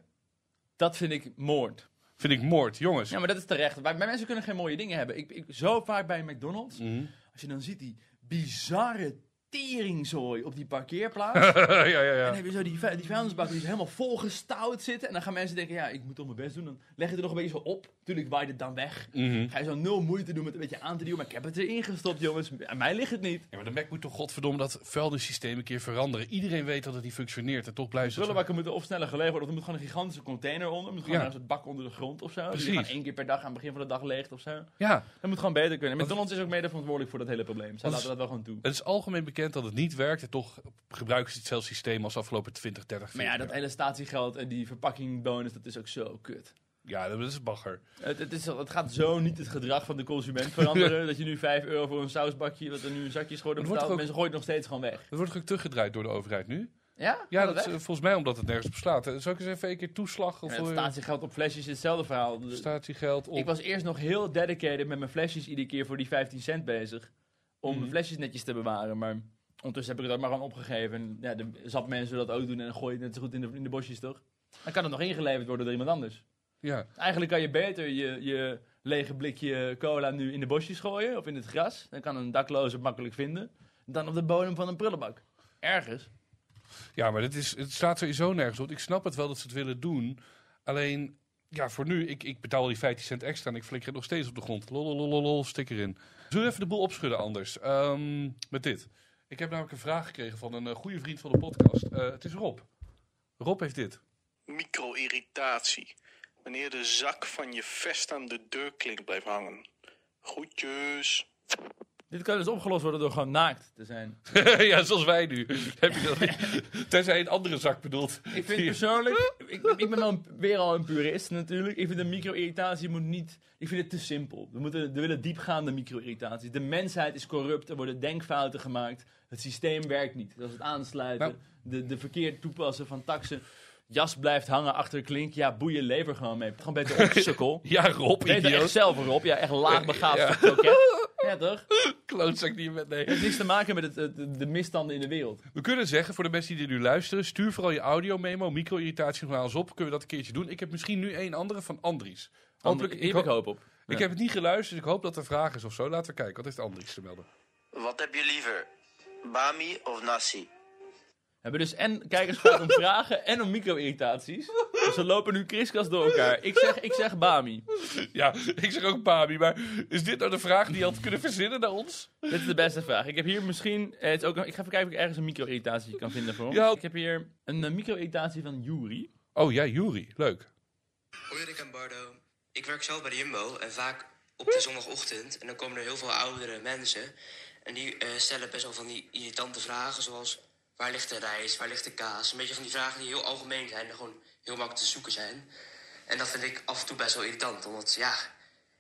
A: Dat vind ik moord.
B: Vind ik moord, jongens.
A: Ja, maar dat is terecht. Wij, wij mensen kunnen geen mooie dingen hebben. Ik, ik, zo vaak bij McDonald's,
B: Mhm.
A: als je dan ziet die bizarre teringzooi op die parkeerplaats...
B: ja, ja, ja.
A: En dan heb je zo die, vu- die vuilnisbak die is helemaal volgestouwd zitten. En dan gaan mensen denken, ja, ik moet toch mijn best doen. Dan leg je het er nog een beetje zo op. Tuurlijk waait het dan weg.
B: Mhm.
A: Ga je zo nul moeite doen met een beetje aan te duwen. Maar ik heb het erin gestopt, jongens. Aan mij ligt het niet.
B: Ja, maar de Mac moet toch godverdomme dat vuilnissysteem een keer veranderen. Iedereen weet dat het niet functioneert en toch blijft het...
A: Prullenbakken moeten of sneller geleverd worden. Of er moet gewoon een gigantische container onder. Er moet gewoon
B: Ja.
A: een soort bak onder de grond of zo. Die
B: Precies.
A: gaan één keer per dag aan het begin van de dag leeg of zo.
B: Ja,
A: Dat moet gewoon beter kunnen. En McDonald's is ook mede verantwoordelijk voor dat hele probleem. Zij
B: Want-
A: laten dat wel gewoon toe.
B: het is algemeen bekend dat het niet werkt en toch gebruiken ze hetzelfde systeem als de afgelopen 20, 30,
A: Maar
B: 40
A: ja, dat hele statiegeld en die verpakkingbonus, dat is ook zo kut.
B: jaar. Ja, dat is bagger.
A: Het, het, is, het gaat zo niet het gedrag van de consument veranderen. dat je nu 5 euro voor een sausbakje, wat er nu een zakje is geworden,
B: Het wordt
A: betaalt.
B: toch ook-
A: Mensen gooien het nog steeds gewoon weg.
B: Dat wordt ook teruggedraaid door de overheid nu.
A: Ja?
B: Ja,
A: Gaat
B: dat is,
A: echt?
B: eh, volgens mij omdat het nergens op slaat. Eh, Zal ik eens even een keer toeslag of
A: Ja, het
B: eh,
A: statiegeld op flesjes is hetzelfde verhaal. De-
B: statiegeld op?
A: Ik was eerst nog heel dedicated met mijn flesjes iedere keer voor die 15 cent bezig. Om
B: Mhm.
A: mijn flesjes netjes te bewaren. Maar ondertussen heb ik het ook maar gewoon opgegeven. En ja, de zat mensen dat ook doen en dan gooi je het net zo goed in de, in de bosjes, toch? Dan kan het nog ingeleverd worden door iemand anders.
B: Ja,
A: Eigenlijk kan je beter je, je lege blikje cola nu in de bosjes gooien of in het gras. Dan kan een dakloze het makkelijk vinden. Dan op de bodem van een prullenbak. Ergens.
B: ja maar het, is, het staat sowieso nergens op. Ik snap het wel dat ze het willen doen. Alleen, ja, voor nu, ik, ik betaal die 15 cent extra en ik flikker het nog steeds op de grond. Lolololol, sticker in. Zullen we even de boel opschudden anders? Ehm, met dit. Ik heb namelijk een vraag gekregen van een eh, goede vriend van de podcast. Eh, het is Rob. Rob heeft dit.
C: Micro-irritatie. Wanneer de zak van je vest aan de deurklink blijft hangen. Groetjes.
A: Dit kan dus opgelost worden door gewoon naakt te zijn.
B: ja, zoals wij nu. Heb je dat niet? Tenzij je een andere zak bedoelt.
A: Ik vind persoonlijk, ik, ik ben wel een- weer al een purist natuurlijk. Ik vind de micro-irritatie moet niet, ik vind het te simpel. We, moeten, we willen diepgaande micro-irritaties. De mensheid is corrupt, er worden denkfouten gemaakt. Het systeem werkt niet. Dat is het aansluiten,
B: Nou.
A: de, de verkeerd toepassen van taxen. Jas blijft hangen achter de klink. Ja, boeien lever gewoon mee. Gewoon beter op, sukkel.
B: Ja, Rob,
A: Weet er echt
B: idioot.
A: zelf erop. Ja, echt laagbegaafd.
B: Ja.
A: kroket. Ja, toch? Het
B: Klootzak niet met nee.
A: heeft niks te maken met het, het- de misstanden in de wereld.
B: We kunnen zeggen, voor de mensen die dit nu luisteren, stuur vooral je audio-memo, micro-irritatie nog maar eens op. Kunnen we dat een keertje doen? Ik heb misschien nu een andere van Andries. Hopelijk,
A: Hier
B: ik,
A: heb ik
B: ho-
A: hoop op.
B: ik heb het niet geluisterd, dus ik hoop dat er vraag is of zo. Laten we kijken, wat heeft Andries te melden?
D: Wat heb je liever? Bami of nasi?
A: We hebben dus en kijkers gehad om vragen en om micro-irritaties. Dus we lopen nu kriskast door elkaar. Ik zeg, ik zeg Bami.
B: Ja, ik zeg ook Babi, maar is dit nou de vraag die je had kunnen verzinnen naar ons?
A: Dit is de beste vraag. Ik heb hier misschien... eh, het is ook een- ik ga even kijken of ik ergens een micro-irritatie kan vinden voor ons.
B: Ja.
A: Ik heb hier een eh, micro-irritatie van Yuri.
B: Oh ja, Juri, leuk.
E: Hoi Rick en Bardo. Ik werk zelf bij de Jumbo en vaak op de zondagochtend. En dan komen er heel veel oudere mensen. En die eh, stellen best wel van die irritante vragen zoals... Waar ligt de rijst? Waar ligt de kaas? Een beetje van die vragen die heel algemeen zijn en gewoon heel makkelijk te zoeken zijn. En dat vind ik af en toe best wel irritant. Omdat ja,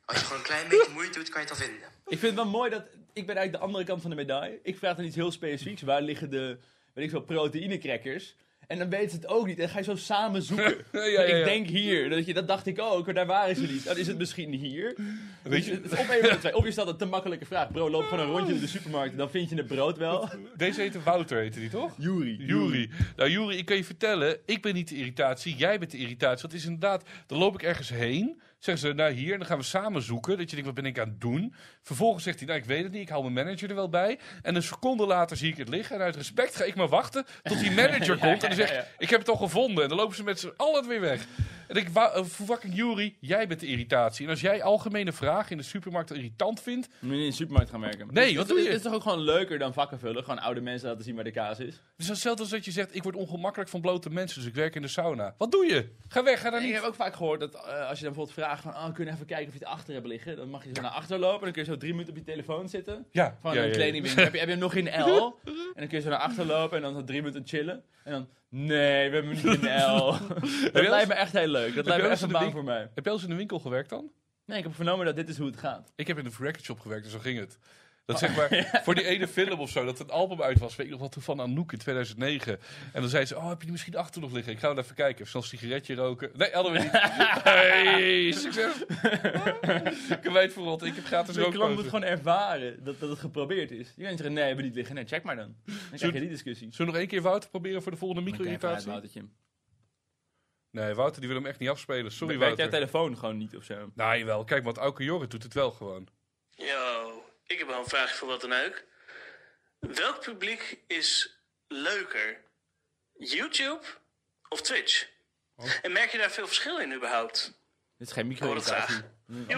E: als je gewoon een klein beetje moeite doet, kan je het al vinden.
A: Ik vind het wel mooi dat... Ik ben eigenlijk de andere kant van de medaille. Ik vraag dan iets heel specifieks. Waar liggen de, weet ik veel, proteïnecrackers? En dan weten ze het ook niet. En dan ga je zo samen zoeken.
B: Ja, ja, ja.
A: Ik denk hier. Dat, je, dat dacht ik ook. Maar daar waren ze niet. Dan is het misschien hier.
B: Weet
A: Dus
B: je,
A: het is Of een van de twee. Of je stelt een te makkelijke vraag. Bro, loop gewoon een rondje in de supermarkt. Dan vind je het brood wel.
B: deze heette Wouter, heette die toch?
A: Juri.
B: Juri.
A: Hmm.
B: Nou, Juri, ik kan je vertellen, ik ben niet de irritatie, jij bent de irritatie. Dat is inderdaad, dan loop ik ergens heen, zeggen ze, nou hier, en dan gaan we samen zoeken. Dat je denkt, wat ben ik aan het doen? Vervolgens zegt hij, nou ik weet het niet, ik hou mijn manager er wel bij. En een seconde later zie ik het liggen en uit respect ga ik maar wachten tot die manager komt. En dan zegt,
A: ja, ja.
B: ik heb het al gevonden. En dan lopen ze met z'n allen weer weg. En ik, wou- eh, fucking Juri, jij bent de irritatie. En als jij algemene vragen in de supermarkt irritant vindt,
A: Moet je in de supermarkt gaan werken.
B: Nee,
A: Dus
B: wat
A: het-
B: doe je?
A: Het is toch ook gewoon leuker dan vakken vullen? Gewoon oude mensen laten zien waar de kaas is.
B: het is hetzelfde als dat je zegt, ik word ongemakkelijk van blote mensen, dus ik werk in de sauna. Wat doe je? Ga weg, ga daar
A: En ik
B: niet.
A: heb ook vaak gehoord dat eh, als je dan bijvoorbeeld vraagt van... Oh, kun je even kijken of je het achter hebt liggen? Dan mag je zo naar achter lopen. Dan kun je zo drie minuten op je telefoon zitten.
B: Ja,
A: Van
B: ja, ja,
A: een
B: ja.
A: kledingwinkel. heb, je, heb je hem nog in L? En dan kun je zo naar achter lopen en dan zo drie minuten chillen. En dan... Nee, we hebben hem niet in L. dat
B: eens-
A: lijkt me echt heel leuk. Dat lijkt me echt
B: eens
A: een
B: een
A: baan
B: ding-
A: voor mij.
B: Heb jij al eens in de winkel gewerkt dan?
A: Nee, ik heb vernomen dat dit is hoe het gaat.
B: Ik heb in een record shop gewerkt, dus zo ging het. Dat zeg maar, voor die ene film of zo, dat het album uit was, weet ik nog wat, toen van Anouk in 2009. En dan zei ze, oh, heb je die misschien achter nog liggen? Ik ga wel even kijken. Even snel een sigaretje roken. Nee, hadden we niet. Hey, succes. Kwijt voor rot, ik heb gratis
A: De Dus klant moet
B: rookpauze.
A: gewoon ervaren dat, dat het geprobeerd is. Je kan niet zeggen, nee, hebben we niet liggen. Nee, check maar dan. Dan krijg je die discussie.
B: Zullen we nog één keer Wouter proberen voor de volgende micro-irritatie? Nee, Wouter die wil hem echt niet afspelen. Sorry,
A: Sorry, werkt jouw
B: Wouter.
A: telefoon gewoon niet of zo?
B: Nou, jawel. Kijk, want Auke Jorrit doet het wel gewoon.
C: Yo, ik heb wel een vraagje voor wat dan ook. Welk publiek is leuker? YouTube of Twitch? En merk je daar veel verschil in überhaupt?
A: Dit is geen
C: Oh,
A: micro-irritatie.
C: dat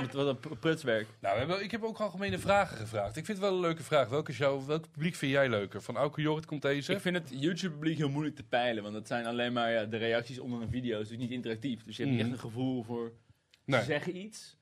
A: Wat wat een pr- prutswerk.
B: Nou, we hebben- ik heb ook algemene vragen gevraagd. Ik vind het wel een leuke vraag. Welke show, welk publiek vind jij leuker? Van Auke Jorrit komt deze.
A: Ik vind het YouTube-publiek heel moeilijk te peilen, want dat zijn alleen maar ja, de reacties onder een video. is dus niet interactief. Dus je hebt niet
B: Mhm.
A: echt een gevoel voor
B: Nee.
A: ze zeggen iets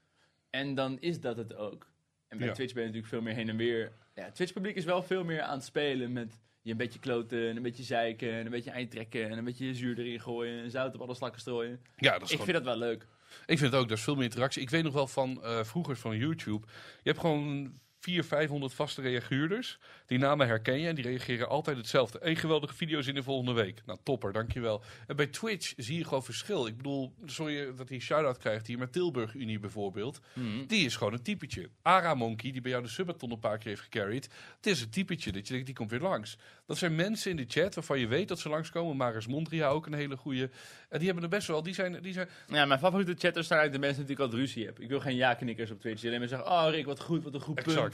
A: en dan is dat het ook. En bij
B: Ja.
A: Twitch ben je natuurlijk veel meer heen en weer. Ja, het Twitch-publiek is wel veel meer aan het spelen met je een beetje kloten, en een beetje zeiken, en een beetje eindtrekken, en een beetje zuur erin gooien, en zout op alle slakken strooien.
B: Ja, dat
A: Ik
B: is gewoon-
A: vind dat wel leuk.
B: ik vind het ook. Er is veel meer interactie. Ik weet nog wel van eh, vroeger van YouTube. Je hebt gewoon 400, 500 vaste reaguurders. Die namen herken je en die reageren altijd hetzelfde. Eén geweldige video's in de volgende week. Nou, topper, dankjewel. En bij Twitch zie je gewoon verschil. Ik bedoel, sorry dat hij een shout-out krijgt hier, maar Tilburg Unie bijvoorbeeld. Die is gewoon een typetje. Ara Monkey, die bij jou de subathon een paar keer heeft gecarried. Het is een typetje dat je denkt, die komt weer langs. Dat zijn mensen in de chat waarvan je weet dat ze langskomen. Maris Mondria ook een hele goede. En die hebben er best wel, die zijn... Die zijn
A: Ja, mijn favoriete chatters zijn eigenlijk de mensen die ik altijd ruzie heb. Ik wil geen ja-knikkers op Twitch. Die alleen maar zeggen, oh Rick, wat goed, wat een goed punt.
B: exact.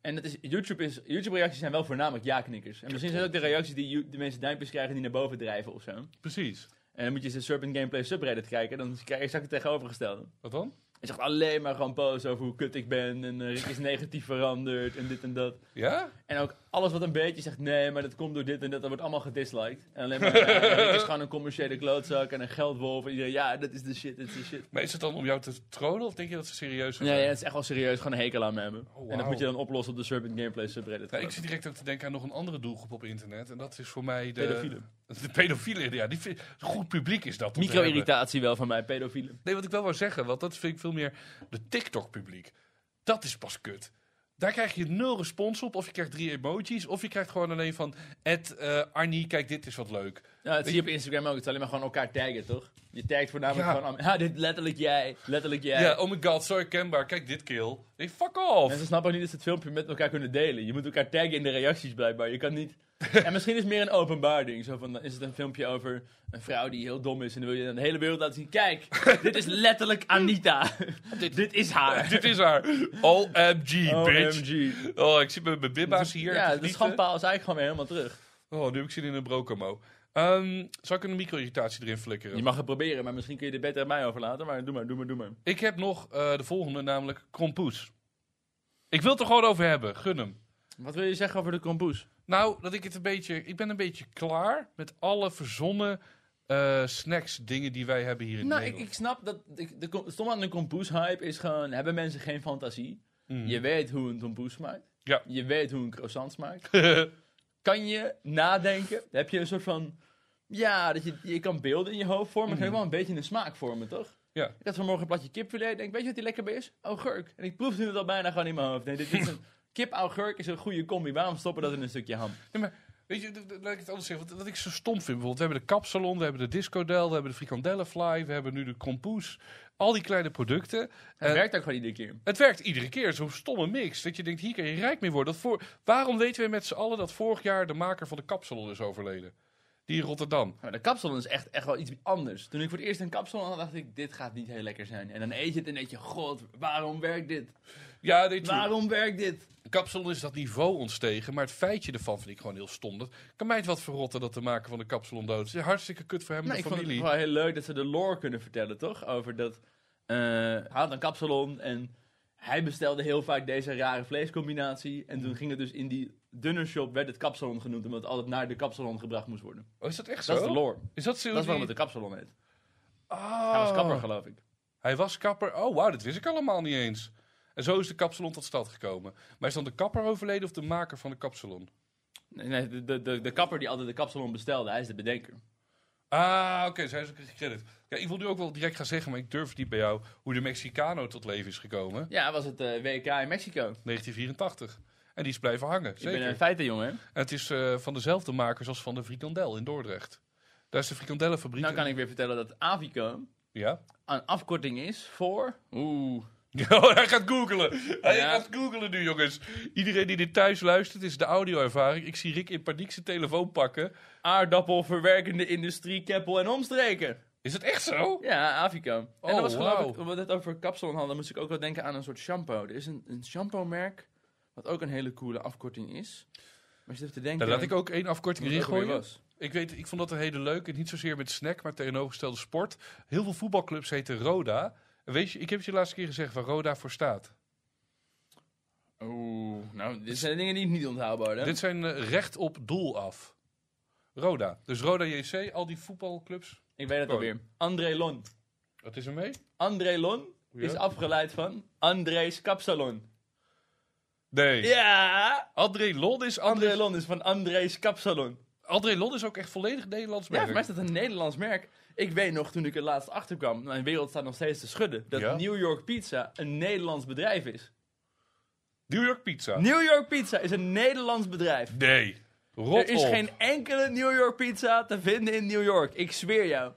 A: En dat is, YouTube is, YouTube-reacties zijn wel voornamelijk ja-knikkers. En misschien zijn dat ook de reacties die you- de mensen duimpjes krijgen die naar boven drijven of zo. En
B: Precies.
A: dan moet je eens de Serpent Gameplay subreddit kijken, dan krijg je exact het tegenovergestelde.
B: Wat dan?
A: Hij zegt alleen maar gewoon posts over hoe kut ik ben en eh, Rick is negatief veranderd en dit en dat.
B: Ja?
A: En ook alles wat een beetje zegt, nee, maar dat komt door dit en dat, dat wordt allemaal gedisliked. En alleen maar, eh, Rick is gewoon een commerciële klootzak en een geldwolf. En iedereen, ja, dat is de shit, dat is de shit.
B: Maar is het dan om jou te tronen of denk je dat ze serieus zijn?
A: Nee, ja, het is echt wel serieus gewoon een hekel aan me hebben.
B: Oh,
A: En dat
B: wauw.
A: moet je dan oplossen op de Serpent Gameplay subreddit.
B: Nou, ik zit direct ook te denken aan nog een andere doelgroep op internet. En dat is voor mij de...
A: Pedofielen.
B: De pedofielen, ja. Die vind- goed publiek is dat. om te hebben.
A: Micro-irritatie wel van mij, pedofielen.
B: Nee, wat ik wel wou zeggen, want dat vind ik veel meer de TikTok-publiek. Dat is pas kut. Daar krijg je nul respons op, of je krijgt drie emojis, of je krijgt gewoon alleen van... Ed, eh, Arnie, kijk, dit is wat leuk.
A: Ja, dat zie je op Instagram ook. Het is alleen maar gewoon elkaar taggen, toch? Je tagt voornamelijk
B: Ja.
A: gewoon... am- Ha, dit letterlijk jij. Letterlijk jij.
B: Ja, oh my god, zo herkenbaar, kijk dit kill. Nee, fuck off!
A: Mensen snappen ook niet dat ze het filmpje met elkaar kunnen delen. Je moet elkaar taggen in de reacties blijkbaar. Je kan niet... En misschien is het meer een openbaar ding. Zo van, is het een filmpje over een vrouw die heel dom is... en dan wil je aan de hele wereld laten zien... Kijk, dit is letterlijk Anita. dit, is haar.
B: dit is haar. OMG, bitch.
A: OMG.
B: Oh, ik zit met mijn bibba's hier. te
A: Ja, de
B: genieten.
A: schandpaal is eigenlijk gewoon weer helemaal terug.
B: Oh, nu heb ik zin in een brocomo. Ehm, zal ik een micro-irritatie erin flikkeren?
A: Je mag het proberen, maar misschien kun je dit beter aan mij overlaten. Maar doe maar, doe maar, doe maar.
B: Ik heb nog eh, de volgende, namelijk Krompoes. Ik wil het er gewoon over hebben, gun hem.
A: Wat wil je zeggen over de kompoes?
B: Nou, dat ik het een beetje. Ik ben een beetje klaar met alle verzonnen eh, snacks, dingen die wij hebben hier in
A: Nou, ik,
B: Nederland.
A: ik snap dat. Ik, de, kom- stom aan de kompoes-hype is gewoon: hebben mensen geen fantasie?
B: Mm.
A: Je weet hoe een kompoes smaakt.
B: Ja.
A: Je weet hoe een croissant smaakt. kan je nadenken? Heb je een soort van. Ja, dat je, je kan beelden in je hoofd vormen. Kan je wel een beetje een smaak vormen, toch?
B: Mm. Ja.
A: Ik had vanmorgen een platje kipfilet. Denk, weet je wat die lekker bij is? Augurk. En ik proefde het al bijna gewoon in mijn hoofd. Nee, dit is een, kip-augurk is een goede combi. Waarom stoppen dat in een stukje ham?
B: Nee, maar weet je, d- d- laat ik het anders zeggen. Wat, wat ik zo stom vind, bijvoorbeeld, we hebben de kapsalon, we hebben de discodel, we hebben de frikandellenfly, we hebben nu de kompoes. Al die kleine producten.
A: Het
B: Eh,
A: werkt ook gewoon iedere keer.
B: Het werkt iedere keer, zo'n stomme mix. Dat je denkt, hier kan je rijk mee worden. Dat voor... Waarom weten we met z'n allen dat vorig jaar de maker van de kapsalon is overleden? Die in Rotterdam.
A: Maar de kapsalon is echt, echt wel iets anders. Toen ik voor het eerst een kapsalon had, dacht ik, dit gaat niet heel lekker zijn. En dan eet je het en denk je, god, waarom werkt dit?
B: Ja, dit
A: Waarom werkt dit?
B: kapsalon is dat niveau ontstegen, maar het feitje ervan vind ik gewoon heel stom. Dat kan mij het wat verrotten dat de maker van de kapsalon dood is. Hartstikke kut voor hem en
A: Nou, ik
B: de
A: vond het
B: familie.
A: wel heel leuk dat ze de lore kunnen vertellen, toch? Over dat, eh, hij had een kapsalon en hij bestelde heel vaak deze rare vleescombinatie. En
B: Mm.
A: toen ging het dus in die dunner shop, werd het kapsalon genoemd, omdat het altijd naar de kapsalon gebracht moest worden.
B: Oh, is dat echt zo?
A: Dat is de lore.
B: Is dat zo?
A: Dat is waarom het de kapsalon heet. Hij was
B: Oh.
A: kapper, geloof ik.
B: Hij was kapper. Oh, wauw, dat wist ik allemaal niet eens. En zo is de kapsalon tot stand gekomen. Maar is dan de kapper overleden of de maker van de kapsalon?
A: Nee, nee, de, de, de, de kapper die altijd de kapsalon bestelde, hij is de bedenker.
B: Ah, oké, zij is ook gecredit. Ja, ik wil nu ook wel direct gaan zeggen, maar ik durf het niet bij jou, hoe de Mexicano tot leven is gekomen.
A: Ja, was het eh, WK in Mexico.
B: 1984. En die is blijven hangen,
A: Ik
B: zeker.
A: ben een feiten, jongen.
B: En het is eh, van dezelfde makers als van de frikandel in Dordrecht. Daar is de frikandellenfabriek.
A: Nou kan ik weer vertellen dat Avico
B: Ja?
A: een afkorting is voor... Oeh.
B: Oh, hij gaat googelen. Hij
A: Ja.
B: gaat googelen nu, jongens. Iedereen die dit thuis luistert, is de audio-ervaring. Ik zie Rick in paniek zijn telefoon pakken.
A: Aardappelverwerkende industrie, Keppel en omstreken.
B: Is het echt zo?
A: Ja, Avico. en
B: Oh,
A: dat was geloof
B: wauw.
A: ik, omdat we het over kapsalon hadden, moest ik ook wel denken aan een soort shampoo. Er is een, een shampoo-merk, wat ook een hele coole afkorting is. Maar je zit even te denken...
B: Dan laat ik ook één afkorting
A: wat het
B: erin
A: ook alweer
B: gooien.
A: was.
B: Ik, weet, ik vond dat een hele leuke. Niet zozeer met snack, maar tegenovergestelde sport. Heel veel voetbalclubs heten Roda. En weet je, ik heb het je de laatste keer gezegd waar Roda voor staat.
A: Oeh, nou, dit zijn dingen die niet onthoudbaar worden.
B: Dit zijn eh, recht op doel af. Roda. Dus Roda JC, al die voetbalclubs.
A: Ik weet het alweer. André Lon.
B: Wat is er mee?
A: André Lon
B: Ja.
A: is afgeleid van André's Kapsalon.
B: Nee.
A: Ja!
B: André Lon is André,
A: André Lon is van André's Kapsalon.
B: André Lon is ook echt volledig Nederlands
A: Ja,
B: merk.
A: voor mij is dat een Nederlands merk. Ik weet nog, toen ik er laatst achter kwam, mijn wereld staat nog steeds te schudden, dat
B: Ja?
A: New York Pizza een Nederlands bedrijf is.
B: New York Pizza.
A: New York Pizza is een Nederlands bedrijf.
B: Nee. Rot
A: er is
B: op.
A: geen enkele New York Pizza te vinden in New York. Ik zweer jou.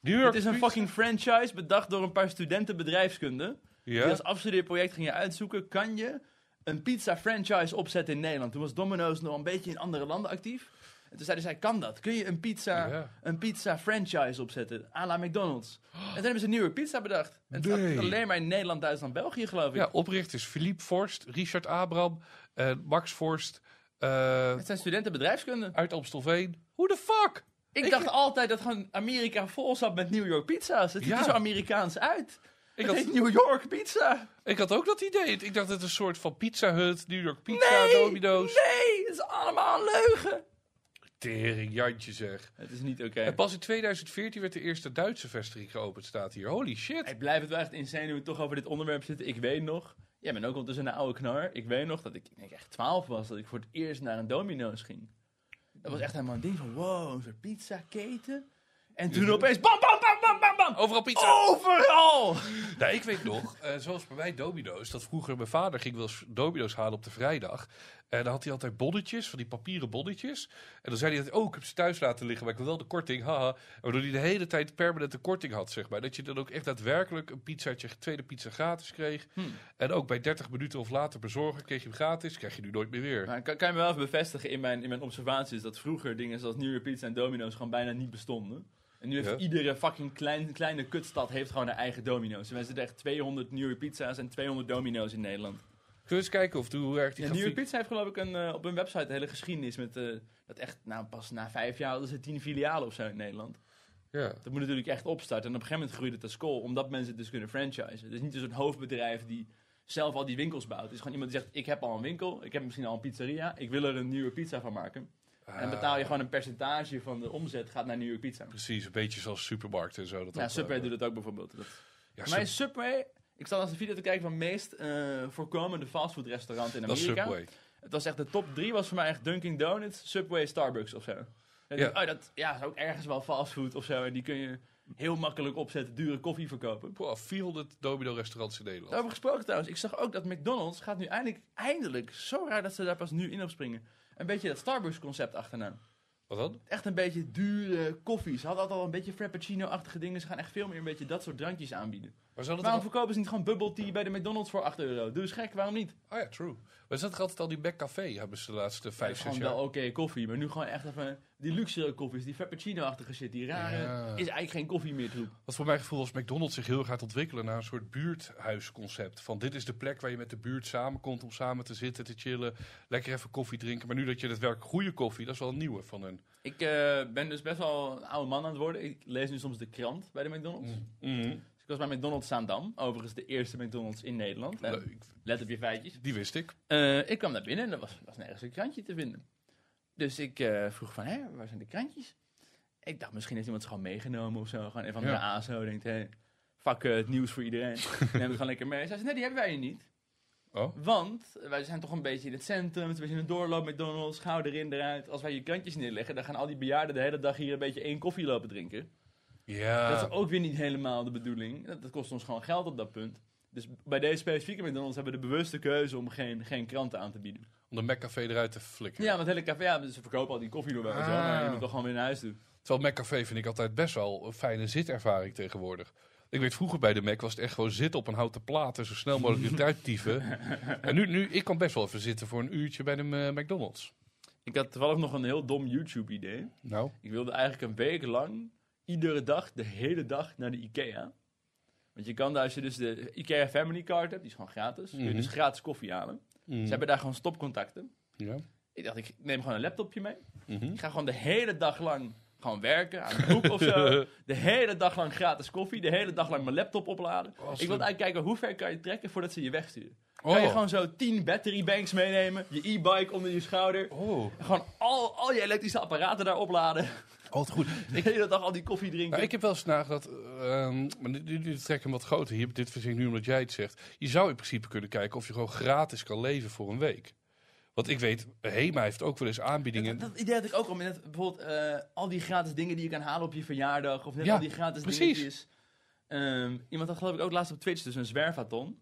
B: New York
A: Het is een
B: Pizza.
A: fucking franchise bedacht door een paar studenten bedrijfskunde. Die
B: Ja?
A: als afstudeerproject gingen uitzoeken, kan je een pizza franchise opzetten in Nederland. Toen was Domino's nog een beetje in andere landen actief. En toen zeiden zij, kan dat? Kun je een pizza,
B: Ja.
A: een pizza franchise opzetten? À la McDonald's. En toen hebben ze een nieuwe pizza bedacht. En het
B: Nee.
A: gaat alleen maar in Nederland, Duitsland, België, geloof ik.
B: Ja, oprichters Philippe Forst, Richard Abraham, eh, Max Forst, eh,
A: Het zijn studenten bedrijfskunde.
B: uit Amstelveen. Hoe de fuck?
A: Ik, dacht altijd dat gewoon Amerika vol zat met New York pizza's. Het ziet
B: Ja.
A: er zo Amerikaans uit.
B: Ik
A: het
B: had,
A: heet New York pizza.
B: ik had ook dat idee. Ik dacht dat het een soort van Pizza Hut, New York Pizza,
A: nee,
B: Domino's.
A: nee, het is allemaal een leugen.
B: Tering, Jantje zeg.
A: Het is niet oké.
B: En pas in 2014 werd de eerste Duitse vestiging geopend, staat hier. Holy shit.
A: Ik blijf het wel echt insane hoe we toch over dit onderwerp zitten. Ik weet nog, jij bent ook ondertussen een oude knar. Ik weet nog dat ik, ik denk echt 12 was, dat ik voor het eerst naar een domino's ging. Dat was echt helemaal een ding van, wow, een soort pizzaketen. En toen opeens, bam, bam, bam, bam, bam, bam.
B: Overal pizza.
A: Overal!
B: Nou, ik weet nog, eh, zoals bij mij domino's, dat vroeger mijn vader ging wel eens domino's halen op de vrijdag. En dan had hij altijd bonnetjes, van die papieren bonnetjes. En dan zei hij, altijd, oh, ik heb ze thuis laten liggen, maar ik wil wel de korting, haha. En Waardoor hij de hele tijd permanent de korting had, zeg maar. Dat je dan ook echt daadwerkelijk een pizzaatje, tweede pizza gratis kreeg.
A: Hmm.
B: En ook bij 30 minuten of later bezorgen kreeg je hem gratis, krijg je nu nooit meer weer.
A: Maar kan, kan je me wel even bevestigen in mijn, in mijn observaties dat vroeger dingen zoals New York Pizza en Domino's gewoon bijna niet bestonden. En nu heeft
B: Ja.
A: iedere fucking klein, kleine kutstad heeft gewoon haar eigen Domino's. En wij zitten echt 200 New York Pizza's en 200 Domino's in Nederland.
B: Kun je eens kijken of, hoe werkt die
A: Ja, New York
B: grafiek?
A: Pizza heeft geloof ik een, eh, op hun website een hele geschiedenis met eh, dat echt nou, pas na vijf jaar hadden ze tien filialen of zo in Nederland.
B: Ja.
A: Dat moet natuurlijk echt opstarten. En op een gegeven moment groeide het als kool, omdat mensen het dus kunnen franchisen. Het is niet dus een hoofdbedrijf die zelf al die winkels bouwt. Het is gewoon iemand die zegt, ik heb al een winkel, ik heb misschien al een pizzeria, ik wil er een nieuwe pizza van maken. En dan betaal je gewoon een percentage van de omzet gaat naar New York Pizza.
B: Ah, Precies, een beetje zoals supermarkten en zo. Dat
A: Ja,
B: ook,
A: Subway
B: eh,
A: doet het ook bijvoorbeeld. Dat.
B: ja,
A: Mijn
B: Sub-
A: Subway, ik zat als een video te kijken van het meest eh, voorkomende fastfoodrestaurant in
B: dat is
A: Amerika.
B: Subway.
A: Het was echt de top drie was voor mij echt Dunkin' Donuts, Subway, Starbucks of zo. En
B: Ja.
A: ik dacht, Oh, dat ja, is ook ergens wel fastfood of zo. En die kun je heel makkelijk opzetten, dure koffie verkopen.
B: Boah, 400 domino-restaurants in Nederland.
A: Daarover gesproken trouwens, ik zag ook dat McDonald's gaat nu eindelijk, eindelijk, zo raar dat ze daar pas nu in op springen. Een beetje dat Starbucks concept achterna.
B: Wat dan?
A: Echt een beetje dure koffie. Ze hadden altijd al een beetje frappuccino-achtige dingen. Ze gaan echt veel meer een beetje dat soort drankjes aanbieden.
B: Maar zou dat
A: Waarom
B: toch
A: verkopen ze niet gewoon bubble tea bij de McDonald's voor 8 euro? Doe eens gek, waarom niet?
B: al- Ah ja, true. Maar is dat toch altijd al die McCafé hebben ze de laatste
A: Het
B: vijf,
A: is
B: zes
A: gewoon
B: jaar?
A: wel oké koffie, maar nu gewoon echt even die luxere koffies, die frappuccino-achtige shit, die rare,
B: Ja.
A: is eigenlijk geen koffie meer troep.
B: Wat voor mijn gevoel was McDonald's zich heel erg gaat ontwikkelen naar een soort buurthuisconcept. Van dit is de plek waar je met de buurt samenkomt om samen te zitten, te chillen, lekker even koffie drinken. Maar nu dat je het werk goede koffie, dat is wel een nieuwe van hun.
A: Ik eh, ben dus best wel een oude man aan het worden. Ik lees nu soms de krant bij de McDonald's.
B: Mm.
A: Dus ik was bij McDonald's Zaandam, overigens de eerste McDonald's in Nederland. Eh,
B: Leuk.
A: Let op je feitjes.
B: Die wist ik.
A: Eh, ik kwam naar binnen en er was, was nergens een krantje te vinden. Dus ik eh, vroeg van, hè, waar zijn de krantjes? Ik dacht, misschien heeft iemand ze gewoon meegenomen of zo. Gewoon een van de
B: Ja.
A: ASO denkt, hé, fuck eh, het nieuws voor iedereen. Neem het gewoon lekker mee. Zij zei, nee, die hebben wij hier niet.
B: Oh.
A: Want wij zijn toch een beetje in het centrum, het is een beetje een doorloop McDonald's, gauw erin, eruit. Als wij je krantjes neerleggen, dan gaan al die bejaarden de hele dag hier een beetje één koffie lopen drinken. Dat
B: Ja.
A: is ook weer niet helemaal de bedoeling. Dat, dat kost ons gewoon geld op dat punt. Dus bij deze specifieke McDonald's hebben we de bewuste keuze om geen, geen kranten aan te bieden.
B: Om de McCafé eruit te flikkeren.
A: Ja, want het hele café, ja, ze verkopen al die koffie door wel, weet je wel, maar je
B: Ah.
A: moet toch gewoon weer naar huis toe.
B: Terwijl McCafé vind ik altijd best wel een fijne zitervaring tegenwoordig. Ik weet, vroeger bij de Mac was het echt gewoon zitten op een houten plaat en zo snel mogelijk eruit dieven. en nu, nu, ik kan best wel even zitten voor een uurtje bij de eh, McDonald's.
A: Ik had toevallig nog een heel dom YouTube-idee.
B: Nou,
A: Ik wilde eigenlijk een week lang, iedere dag, de hele dag naar de IKEA. Want je kan daar, als je dus de IKEA Family Card hebt, die is gewoon gratis, kun je dus gratis koffie halen.
B: Mhm.
A: Ze hebben daar gewoon stopcontacten.
B: mm, ja.
A: Ik dacht, ik neem gewoon een laptopje mee. Ik ga gewoon de hele dag lang gewoon werken aan een boek of zo. De hele dag lang gratis koffie. De hele dag lang mijn laptop opladen. ik wil eigenlijk kijken hoe ver kan je trekken voordat ze je wegsturen. Kan je
B: Oh.
A: gewoon zo 10 battery banks meenemen. Je e-bike onder je schouder.
B: Oh,
A: Gewoon al, al je elektrische apparaten daar opladen.
B: altijd goed.
A: De hele dag al die koffie drinken.
B: Nou, ik heb wel eens nagedacht, eh, ehm, maar nu, nu- nu trek ik hem wat groter. Hier, dit verzin ik nu omdat jij het zegt. Je zou in principe kunnen kijken of je gewoon gratis kan leven voor een week. Want ik weet, Hema heeft ook wel eens aanbiedingen.
A: dat idee had ik ook al. Met bijvoorbeeld eh, al die gratis dingen die je kan halen op je verjaardag. Of net
B: Ja,
A: al die gratis
B: precies.
A: dingetjes. Ehm, iemand had geloof ik ook laatst op Twitch dus een zwervathon.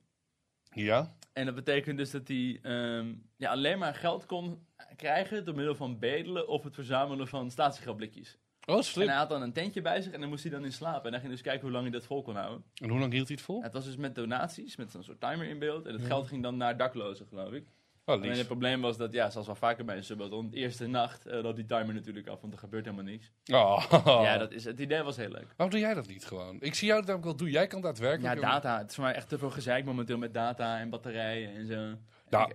B: Ja?
A: En dat betekent dus dat hij ehm, ja, alleen maar geld kon krijgen door middel van bedelen of het verzamelen van statiegeldblikjes.
B: Oh,
A: En
B: slim.
A: hij had dan een tentje bij zich en daar moest hij dan in slapen. En hij ging dus kijken hoe lang hij dat vol kon houden.
B: En hoe lang hield hij het vol?
A: Het was dus met donaties, met zo'n soort timer in beeld. En het geld ging dan naar daklozen, geloof ik.
B: Oh,
A: Alleen het
B: lief.
A: probleem was dat, ja, zoals wel vaker bij een subathon, de eerste nacht eh, loopt die timer natuurlijk af, want er gebeurt helemaal niks.
B: Oh.
A: Ja, dat is, het idee was heel leuk.
B: Waarom doe jij dat niet gewoon? Ik zie jou dat namelijk wel doen. Jij kan
A: Ja,
B: daadwerkelijk...
A: data. Het is voor mij echt te veel gezeik momenteel met data en batterijen en zo.
B: Nou,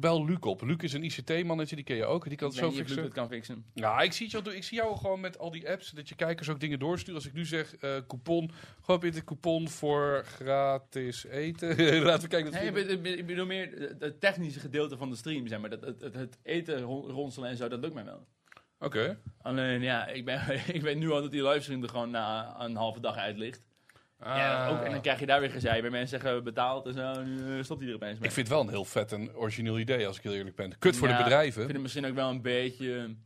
B: bel Luc op. Luc is een ICT-mannetje, die ken je ook. Die kan
A: Ik
B: het
A: weet
B: zo
A: niet of Luc
B: fixen.
A: dat kan fixen.
B: Ja, ik zie, het jou, doen. ik zie jou gewoon met al die apps, dat je kijkers ook dingen doorsturen. Als ik nu zeg eh, coupon, gewoon weer de coupon voor gratis eten. Laten we kijken.
A: Nee,
B: Nee,
A: ik bedoel- ik bedoel meer eh, het technische gedeelte van de stream, zeg maar. Dat, het, het, het eten ron- ronselen en zo, dat lukt mij wel.
B: Oké.
A: Alleen ja, ik, ben, ik weet nu al dat die livestream er gewoon na een halve dag uit ligt. Ja,
B: Ah.
A: ook, en dan krijg je daar weer gezeik bij mensen zeggen betaald en zo. En nu eh, stopt hij er opeens mee.
B: Ik vind het wel een heel vet en origineel idee, als ik heel eerlijk ben. Kut voor
A: Ja,
B: de bedrijven.
A: Ik vind het misschien ook wel een beetje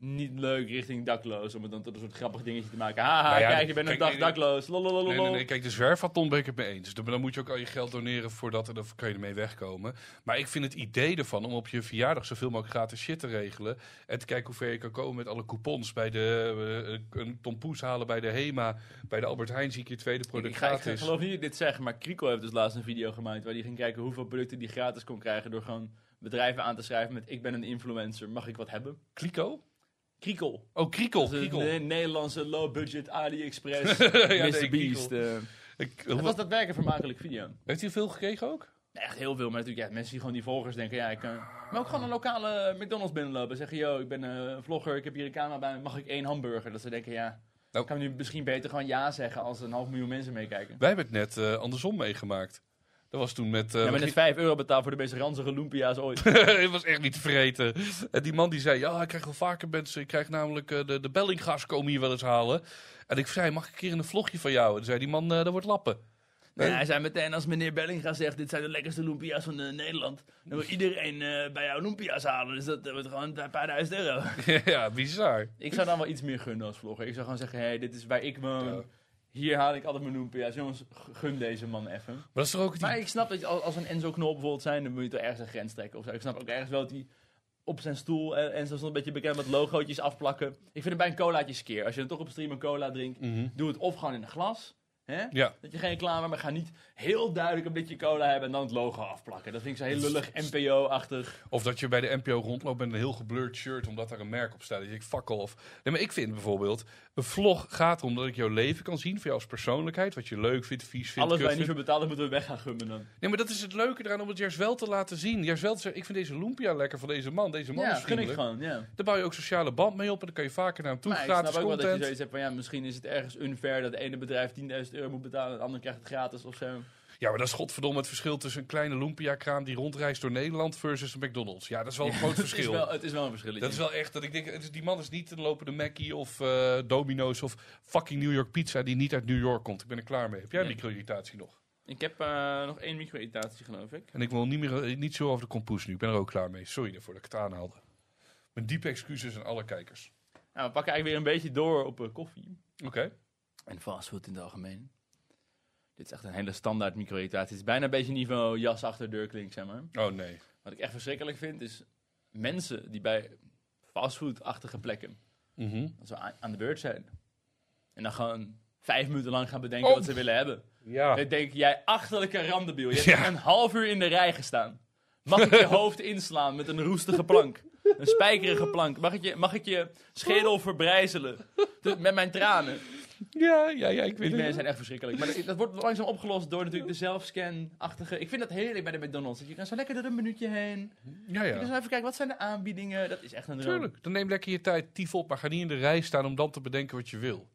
A: niet leuk richting dakloos. Om het dan tot een soort grappig dingetje te maken. Haha,
B: Nou ja,
A: kijk, je bent een
B: kijk,
A: dag
B: nee, nee.
A: dakloos. Lolololol.
B: Nee, nee, nee, kijk, de zwerfaton ben ik het mee eens. Dan dan moet je ook al je geld doneren voordat en dan kan je ermee wegkomen. Maar ik vind het idee ervan om op je verjaardag zoveel mogelijk gratis shit te regelen. En te kijken hoe ver je kan komen met alle coupons. Bij de, eh, een tompoes halen bij de HEMA. Bij de Albert Heijn zie ik je tweede
A: Ik,
B: product
A: ga, ik
B: gratis.
A: geloof niet dat ik dit zeg, maar Krico heeft dus laatst een video gemaakt waar hij ging kijken hoeveel producten die gratis kon krijgen door gewoon bedrijven aan te schrijven met ik ben een influencer, mag ik wat hebben?
B: Kliko?
A: Krikel.
B: Oh, Kriekel.
A: Dat is een eh,
B: Kriekel.
A: ne- Nederlandse low-budget AliExpress,
B: Ja,
A: Mr.
B: nee,
A: Beast.
B: Krikel.
A: eh.
B: Ik-
A: Het
B: hoe-
A: was dat werken vermakelijk video.
B: Heeft hij veel gekregen ook?
A: Nee, Echt heel veel, maar natuurlijk ja, mensen die gewoon die volgers denken, ja ik kan... Maar ook gewoon een lokale eh, McDonald's binnenlopen en zeggen, yo, ik ben eh, een vlogger, ik heb hier een camera bij me, mag ik één hamburger? Dat ze denken, ja,
B: Nou.
A: kan ik nu misschien beter gewoon ja zeggen als een half miljoen mensen meekijken.
B: Wij hebben het net eh, andersom meegemaakt. Dat was toen met... eh,
A: Ja, maar
B: Michiel-
A: net 5 euro betaald voor de meest ranzige lumpia's ooit.
B: het was echt niet te vreten. En die man die zei, ja, ik krijg wel vaker mensen. Ik krijg namelijk eh, de, de bellinggas komen hier wel eens halen. En ik zei, mag ik een keer in een vlogje van jou? En toen zei die man, eh, dat wordt lappen.
A: Nee, hij zei meteen als meneer Bellinga zegt, dit zijn de lekkerste lumpia's van eh, Nederland. Dan wil iedereen eh, bij jou lumpia's halen, dus dat eh, wordt gewoon een paar duizend euro.
B: ja, bizar.
A: ik zou dan wel iets meer gunnen als vlogger. Ik zou gewoon zeggen, hé, hey, dit is waar ik woon.
B: Ja.
A: Hier haal ik altijd mijn lumpia's. Jongens, g- gun deze man even.
B: Maar dat is toch ook het
A: Maar
B: idee-
A: ik snap dat je als als een Enzo Knol bijvoorbeeld zijn, dan moet je toch ergens een grens trekken of zo. Ik snap ook ergens wel dat hij op zijn stoel, eh, Enzo stond een beetje bekend met logootjes afplakken. Ik vind het bij een colaatje skeer. Als je dan toch op stream een cola drinkt,
B: Mhm.
A: doe het of gewoon in een glas. Hè?
B: Ja.
A: Dat je geen reclame, maar ga niet heel duidelijk een beetje cola hebben en dan het logo afplakken. Dat vind ik zo heel lullig, NPO-achtig.
B: Of dat je bij de NPO rondloopt met een heel geblurred shirt omdat daar een merk op staat. Dat je denkt, fuck off. Nee, maar ik vind bijvoorbeeld, een vlog gaat erom dat ik jouw leven kan zien. Van jou als persoonlijkheid, wat je leuk vindt, vies vindt,
A: Alles waar
B: kut
A: je niet
B: vindt.
A: voor betaalt, dat moeten we weg gaan gummen dan.
B: Nee, maar dat is het leuke eraan om het juist wel te laten zien. Juist wel te zeggen, ik vind deze lumpia lekker van deze man. Deze man
A: Ja,
B: is
A: dat gun ik
B: vriendelijk.
A: gewoon, ja.
B: Daar bouw je ook sociale band mee op en dan kan je vaker naar hem toe.
A: Maar ik
B: gratis
A: snap ook wel dat je
B: content.
A: zoiets hebt van, ja, misschien is het ergens unfair dat de ene bedrijf 10.000 euro moet betalen en het andere krijgt het gratis of zo.
B: Ja, maar dat is godverdomme het verschil tussen een kleine lumpia-kraam die rondreist door Nederland versus een McDonald's. Ja, dat is wel een groot
A: Het is
B: verschil.
A: wel, het is wel een verschil.
B: Dat is wel echt dat ik denk, het is- die man is niet een lopende Mackie of eh, Domino's of fucking New York Pizza die niet uit New York komt. Ik ben er klaar mee. Heb jij een
A: Nee.
B: micro-irritatie nog?
A: Ik heb eh, nog één micro-irritatie, geloof ik.
B: En ik wil niet, meer, eh, niet zo over de compoes nu. Ik ben er ook klaar mee. Sorry daarvoor dat ik het aanhaalde. Mijn diepe excuses aan alle kijkers.
A: Nou, we pakken eigenlijk weer een beetje door op eh, koffie.
B: Oké.
A: En fastfood in het algemeen. Dit is echt een hele standaard micro-irritatie. Het is bijna een beetje niveau jas achter de deur klinkt, zeg maar.
B: Oh nee.
A: Wat ik echt verschrikkelijk vind, is mensen die bij fastfood-achtige plekken
B: Mhm.
A: zo aan, aan de beurt zijn. En dan gewoon vijf minuten lang gaan bedenken
B: Oh.
A: wat ze willen hebben.
B: Ja.
A: Dan denk jij, achterlijke randebiel. Je hebt
B: Oh. Ja.
A: een half uur in de rij gestaan. Mag ik je hoofd inslaan met een roestige plank? Een spijkerige plank. Mag ik je, mag ik je schedel verbrijzelen? Te- Met mijn tranen.
B: Ja, ja, ja, ik weet
A: Die
B: het.
A: mensen zijn echt verschrikkelijk. Maar dat, dat wordt langzaam opgelost door natuurlijk de zelfscan-achtige... Ik vind dat heerlijk bij de McDonald's. Dat je kan zo lekker door een minuutje heen.
B: Ja, ja.
A: Dus even kijken, wat zijn de aanbiedingen? Dat is echt een droom.
B: Tuurlijk. Dan neem lekker je tijd, tief op, maar ga niet in de rij staan om dan te bedenken wat je wil.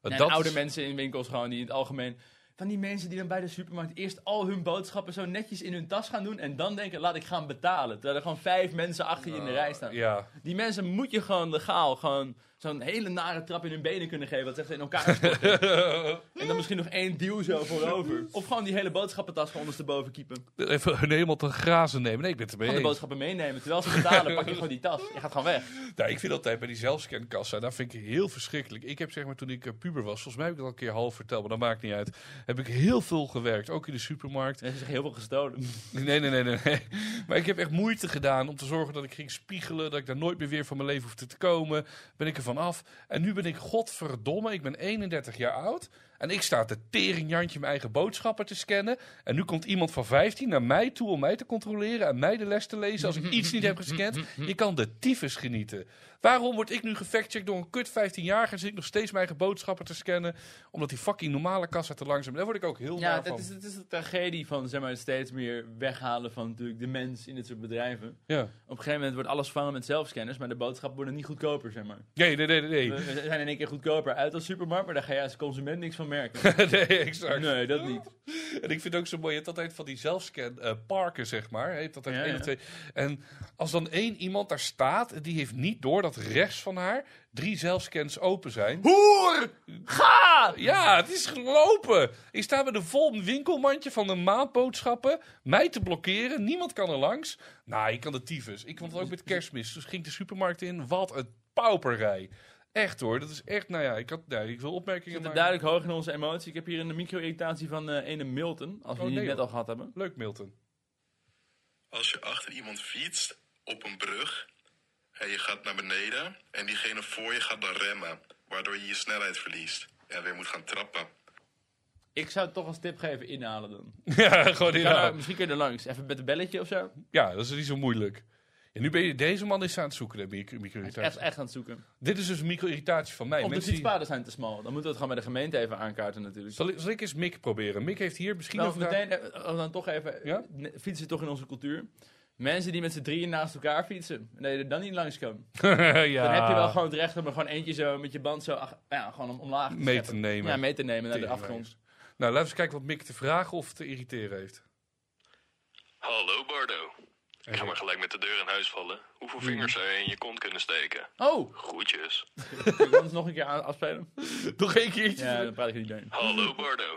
B: Want
A: En
B: dat
A: oude
B: is-
A: mensen in winkels gewoon, die in het algemeen... Van die mensen die dan bij de supermarkt eerst al hun boodschappen zo netjes in hun tas gaan doen... en dan denken, laat ik gaan Nou, betalen. Terwijl er gewoon vijf mensen achter je in de rij staan.
B: Ja,
A: Die mensen moet je gewoon legaal, gewoon zo'n hele nare trap in hun benen kunnen geven. Dat ze echt in elkaar storten. En dan misschien nog één duw zo voorover. Of gewoon die hele boodschappentas van ondersteboven kiepen.
B: Even hun helemaal te grazen nemen. Nee, ik ben het ermee
A: Gewoon de
B: eens.
A: boodschappen meenemen. Terwijl ze betalen, pak je gewoon die tas. Je gaat gewoon weg.
B: Nou, ik vind altijd bij die zelfscankassa, dat vind ik heel verschrikkelijk. Ik heb zeg maar toen ik eh, puber was, volgens mij heb ik dat al een keer half verteld, maar dat maakt niet uit. Heb ik heel veel gewerkt, ook in de supermarkt.
A: Er is echt heel veel gestolen.
B: Nee, nee, nee, nee, nee. Maar ik heb echt moeite gedaan om te zorgen dat ik ging spiegelen, dat ik daar nooit meer weer van mijn leven hoefde te komen. Ben ik er van af. En nu ben ik godverdomme, ik ben 31 jaar oud. En ik sta te teringjantje mijn eigen boodschappen te scannen. En nu komt iemand van 15 naar mij toe om mij te controleren en mij de les te lezen als ik iets niet heb gescand. Je kan de tyfus genieten. Waarom word ik nu gefactcheckt door een kut 15-jarige en zit ik nog steeds mijn eigen boodschappen te scannen? Omdat die fucking normale kassa te langzaam... Daar word ik ook heel
A: Ja,
B: naar
A: dat
B: van.
A: is, dat is de tragedie van zeg maar, steeds meer weghalen van natuurlijk de mens in dit soort bedrijven. Op
B: Ja.
A: een gegeven moment wordt alles vervangen met zelfscanners, maar de boodschappen worden niet goedkoper, zeg maar.
B: Nee, nee, nee, nee.
A: We
B: nee.
A: we zijn in één keer goedkoper uit als supermarkt, maar daar ga je als consument niks van merken.
B: nee, exact.
A: Nee, dat niet.
B: En ik vind het ook zo mooi, je hebt altijd van die zelfscan eh, parken, zeg maar. Je hebt altijd
A: Ja,
B: één
A: ja.
B: of twee. En als dan één iemand daar staat, die heeft niet door dat rechts van haar drie zelfscans open zijn.
A: Hoer! Ga!
B: Ja, het is gelopen. Ik sta met een vol winkelmandje van de maandboodschappen. Mij te blokkeren. Niemand kan er langs. Nou, ik kan de tyfus. Ik vond het ook met kerstmis. Dus ging ik de supermarkt in. Wat een pauperij. Echt hoor. Dat is echt, nou ja, ik, had, nou, ik wil
A: We
B: opmerkingen
A: zitten
B: maken.
A: duidelijk hoog in onze emotie. Ik heb hier een micro-irritatie van eh ene Milton, als we
B: Oh,
A: die
B: nee,
A: net
B: hoor.
A: al gehad hebben.
B: Leuk, Milton.
F: Als je achter iemand fietst op een brug en je gaat naar beneden en diegene voor je gaat dan remmen, waardoor je je snelheid verliest en weer moet gaan trappen.
A: Ik zou het toch als tip geven inhalen dan.
B: Ja, gewoon
A: Ja,
B: inhouden.
A: misschien kun je er langs. Even met een belletje of zo.
B: Ja, dat is niet zo moeilijk. En nu ben je deze man is aan het zoeken, de micro-
A: Echt,
B: micro-irritatie.
A: echt aan het zoeken.
B: Dit is dus een micro-irritatie van mij.
A: Of de
B: Mensen die-
A: fietspaden zijn te smal. Dan moeten we het gewoon bij de gemeente even aankaarten natuurlijk.
B: zal, ik, zal ik eens Mick proberen? Mick heeft hier misschien
A: Nou,
B: een vraag.
A: meteen, eh, eh, dan toch even,
B: Ja?
A: ne- fietsen toch in onze cultuur. Mensen die met z'n drieën naast elkaar fietsen, en dat je er dan niet langs kan.
B: ja.
A: Dan heb
B: Ah.
A: je wel gewoon het recht om er gewoon eentje zo met je band zo ach- ja, gewoon om, omlaag te
B: Mee te
A: scheppen.
B: nemen.
A: Ja, mee te nemen naar de
B: Teringwijs.
A: afgrond.
B: Nou, laten we eens kijken wat Mick te vragen of te irriteren heeft.
F: Hallo Bardo. Ik ga maar gelijk met de deur in huis vallen. Hoeveel vingers zou je in je kont kunnen steken?
A: Oh,
F: Groetjes.
A: kun je dat eens nog een keer aan- afspelen?
B: Nog één keertje.
A: Ja, dan praat ik er niet doorheen.
F: Hallo Bardo.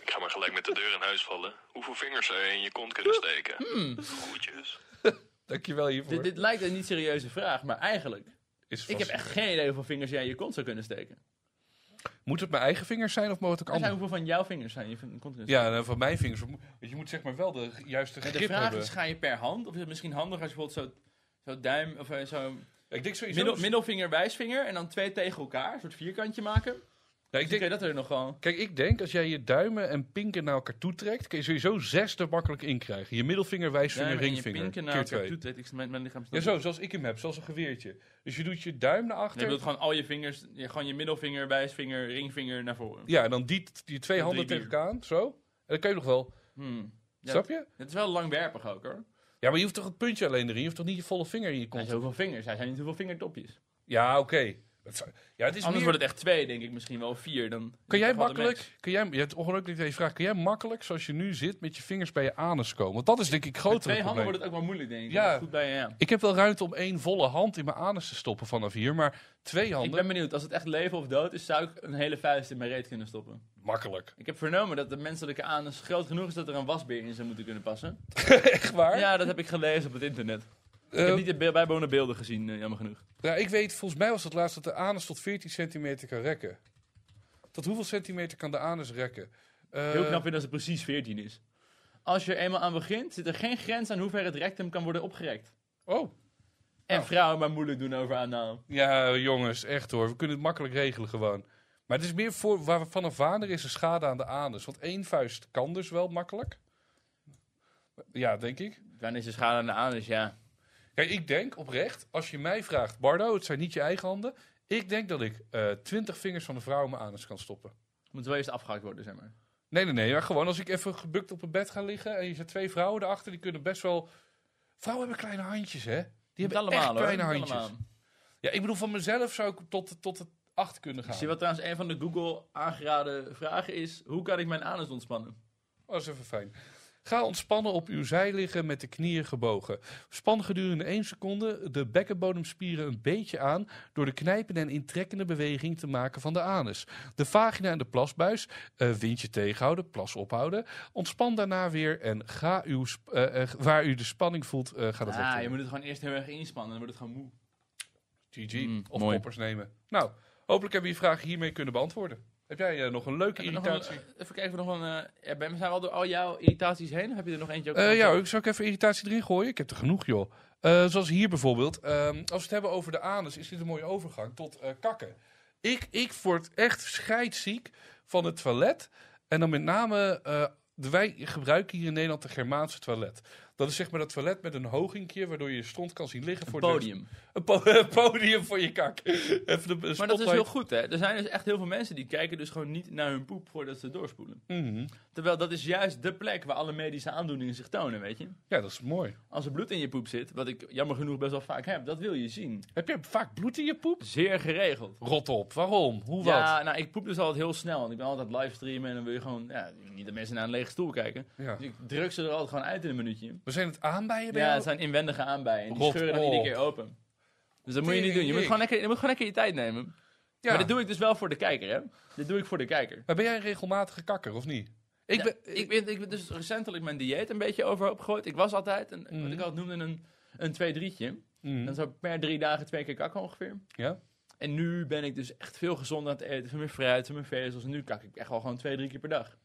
F: Ik ga maar gelijk met de deur in huis vallen. Hoeveel vingers zou je in je kont kunnen steken? Groetjes.
B: Dankjewel hiervoor.
A: Dit, dit lijkt een niet serieuze vraag, maar eigenlijk.
B: is
A: Ik
B: vast-
A: heb echt geen idee hoeveel vingers jij in je kont zou kunnen steken.
B: Moet het mijn eigen vingers zijn of moet het ook
A: Er zijn
B: andere?
A: hoeveel van jouw vingers zijn in je kont kunnen steken.
B: Ja, nou, van mijn vingers. Want je moet zeg maar wel de juiste grip
A: de vraag
B: hebben.
A: is, ga je per hand? Of is het misschien handig als je bijvoorbeeld zo, zo duim of eh, zo
B: Ik denk sowieso...
A: Middel, middelvinger, wijsvinger en dan twee tegen elkaar, een soort vierkantje maken. Dus
B: Nou, ik
A: dan
B: denk,
A: kun je dat er nog gewoon.
B: Kijk, ik denk als jij je duimen en pinken naar elkaar toe trekt, kun je sowieso zes er makkelijk in krijgen. Je middelvinger, wijsvinger,
A: duim en je
B: ringvinger.
A: pinken naar
B: Keer
A: elkaar
B: twee.
A: toe trekken. Ik- Mijn, mijn lichaam
B: Ja,
A: staat
B: zo, zoals ik hem heb, zoals een geweertje. Dus je doet je duim
A: Nee,
B: naar
A: je
B: achter.
A: bedoelt gewoon al je vingers, je- gewoon je middelvinger, wijsvinger, ringvinger naar voren.
B: Ja, en dan die, die twee
A: Ja,
B: handen
A: drie,
B: tegen
A: vier.
B: elkaar aan, zo. En dan kan je nog wel,
A: Hmm. Ja,
B: snap je?
A: Het is wel langwerpig ook hoor.
B: Ja, maar je hoeft toch het puntje alleen erin? Je hoeft toch niet je volle vinger in je
A: Hij
B: kont?
A: heeft hoeveel vingers, hij zijn niet hoeveel vingertopjes.
B: Ja, oké. Dat zou- Ja, het is
A: Anders
B: meer-
A: wordt het echt twee, denk ik misschien wel, of vier. Dan
B: Kun jij
A: dan valt het
B: makkelijk, kun jij, je hebt ongelukkig deze vraag, kun jij makkelijk, zoals je nu zit, met je vingers bij je anus komen? Want dat is denk ik
A: mee.
B: groter
A: Met twee handen wordt het ook wel moeilijk, denk ik.
B: Ja.
A: Ja. Goed bij, ja.
B: Ik heb wel ruimte om één volle hand in mijn anus te stoppen vanaf hier, maar twee
A: Ik
B: handen,
A: ben benieuwd, als het echt leven of dood is, zou ik een hele vuist in mijn reet kunnen stoppen.
B: makkelijk.
A: Ik heb vernomen dat de menselijke anus groot genoeg is dat er een wasbeer in zou moeten kunnen passen.
B: Echt waar?
A: Ja, dat heb ik gelezen op het internet.
B: Eh,
A: Ik heb niet de be- bijbehorende beelden gezien, eh, jammer genoeg.
B: ja, ik weet, volgens mij was het laatst dat de anus tot 14 centimeter kan rekken. Tot hoeveel centimeter kan de anus rekken? Eh,
A: Heel knap vind als het precies 14 is. Als je er eenmaal aan begint, zit er geen grens aan hoe ver het rectum kan worden opgerekt.
B: Oh,
A: En
B: Nou.
A: vrouwen maar moeilijk doen over aanname.
B: ja jongens, echt hoor. We kunnen het makkelijk regelen gewoon. Maar het is meer voor, waar, vanaf wanneer is er schade aan de anus? Want één vuist kan dus wel makkelijk. Ja, denk ik.
A: Dan is de schade aan de anus, ja.
B: Kijk, ik denk oprecht, als je mij vraagt, Bardo, het zijn niet je eigen handen. Ik denk dat ik eh, twintig vingers van een vrouw in mijn anus kan stoppen.
A: Moet wel eerst afgehakt worden, zeg maar.
B: Nee, nee, nee. Maar gewoon als ik even gebukt op een bed ga liggen en je zet twee vrouwen erachter, die kunnen best wel. Vrouwen hebben kleine handjes, hè? Die hebben echt kleine
A: Moet
B: handjes.
A: allemaal.
B: Ja, ik bedoel, van mezelf zou ik tot, tot het acht kunnen
A: Ik zie
B: gaan.
A: wat trouwens een van de Google aangeraden vragen is. Hoe kan ik mijn anus ontspannen?
B: Oh, dat is even fijn. Ga ontspannen op uw zij liggen met de knieën gebogen. Span gedurende 1 seconde de bekkenbodemspieren een beetje aan door de knijpende en intrekkende beweging te maken van de anus. De vagina en de plasbuis, eh, windje tegenhouden, plas ophouden. Ontspan daarna weer en ga uw sp- eh, eh, waar u de spanning voelt, eh ga dat weg.
A: Ah, je moet het gewoon eerst heel erg inspannen, dan wordt het gewoon moe.
B: GG.
A: Mm,
B: of
A: mooi.
B: poppers nemen. Nou, hopelijk hebben we je vragen hiermee kunnen beantwoorden. Heb jij eh, nog een leuke
A: Heb je nog
B: irritatie?
A: een- even kijken of we nog een... eh, ja, ben, zijn we al door al jouw irritaties heen? Of heb je er nog eentje ook?
B: Eh, ja, ik zal ik even irritatie erin gooien? Ik heb er genoeg, joh. Eh, zoals hier bijvoorbeeld. Ehm, als we het hebben over de anus, is dit een mooie overgang tot eh, kakken. Ik, ik word echt scheidziek van het toilet. En dan met name, eh, de- wij gebruiken hier in Nederland de Germaanse toilet. Dat is zeg maar dat toilet met een hoginkje, waardoor je je stront kan zien liggen. voor de-
A: podium.
B: een po- een podium voor je kak. Even de
A: Maar dat is heel goed, hè? Er zijn dus echt heel veel mensen die kijken dus gewoon niet naar hun poep voordat ze doorspoelen.
B: Mhm.
A: Terwijl dat is juist de plek waar alle medische aandoeningen zich tonen, weet je?
B: Ja, dat is mooi.
A: Als er bloed in je poep zit, wat ik jammer genoeg best wel vaak heb, dat wil je zien.
B: Heb jij vaak bloed in je poep?
A: Zeer geregeld.
B: Rot op. Waarom? Hoe
A: Ja, nou, ik poep dus altijd heel snel. Want ik ben altijd livestreamen en dan wil je gewoon... Ja, niet dat mensen naar een lege stoel kijken.
B: wat? Ja.
A: Dus ik druk ze er altijd gewoon uit in een minuutje.
B: We zijn het aanbijen bij
A: Ja,
B: jou?
A: het zijn inwendige aanbijen. En die
B: Rot
A: scheuren dan iedere
B: op.
A: keer open. Dus dat moet je niet doen. Je moet
B: Tering.
A: gewoon lekker, je moet gewoon lekker je tijd nemen.
B: Ja.
A: Maar dit doe ik dus wel voor de kijker, hè? Dit doe ik voor de kijker.
B: Maar ben jij een regelmatige kakker, of niet? Ik
A: Ik ben, ik, ben, ik ben dus recentelijk mijn dieet een beetje overhoop gegooid. Ik was altijd, een, wat
B: Mhm.
A: ik altijd noemde, een, een 2 3 Dan zou ik per drie dagen twee keer kakken ongeveer.
B: Mm. Ja?
A: En nu ben ik dus echt veel gezonder aan het eten. Veel meer fruit, veel meer vezels. En nu kak ik echt wel gewoon twee, drie keer per dag.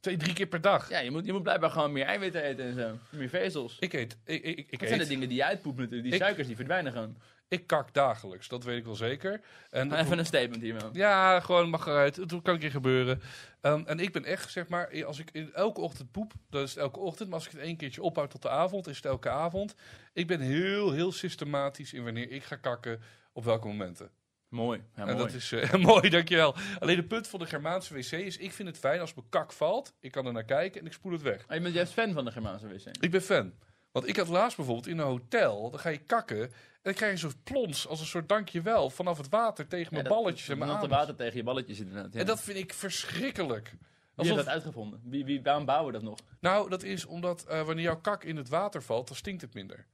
B: Twee, drie keer per dag.
A: Ja, je moet, je moet blijkbaar gewoon meer eiwitten eten en zo. Meer vezels.
B: Ik eet, ik, ik, ik,
A: Dat zijn de
B: eet,
A: dingen die je uitpoept natuurlijk. Die
B: Ik-
A: suikers die verdwijnen gewoon.
B: ik kak dagelijks, dat weet ik wel zeker. En dat
A: Even een statement hier, man.
B: Ja, gewoon mag eruit. Het kan een keer gebeuren. Ehm, en ik ben echt, zeg maar, als ik in elke ochtend poep, dat is het elke ochtend. Maar als ik het één keertje ophoud tot de avond, is het elke avond. Ik ben heel, heel systematisch in wanneer ik ga kakken, op welke momenten.
A: Mooi. Ja,
B: en
A: mooi.
B: dat is eh, mooi, dankjewel. Alleen de punt van de Germaanse wc is, ik vind het fijn als mijn kak valt. Ik kan er naar kijken en ik spoel het weg.
A: Oh, je bent juist fan van de Germaanse wc.
B: Ik ben fan. Want ik had laatst bijvoorbeeld in een hotel, dan ga je kakken. En dan krijg je zo'n plons als een soort dankjewel vanaf het water tegen mijn balletjes en mijn
A: Natte
B: anus.
A: water tegen je balletjes inderdaad. Ja.
B: En dat vind ik verschrikkelijk.
A: Wie heeft
B: Alsof-
A: dat uitgevonden? Wie, wie, waarom bouwen we dat nog?
B: nou, dat is omdat eh, wanneer jouw kak in het water valt, dan stinkt het minder.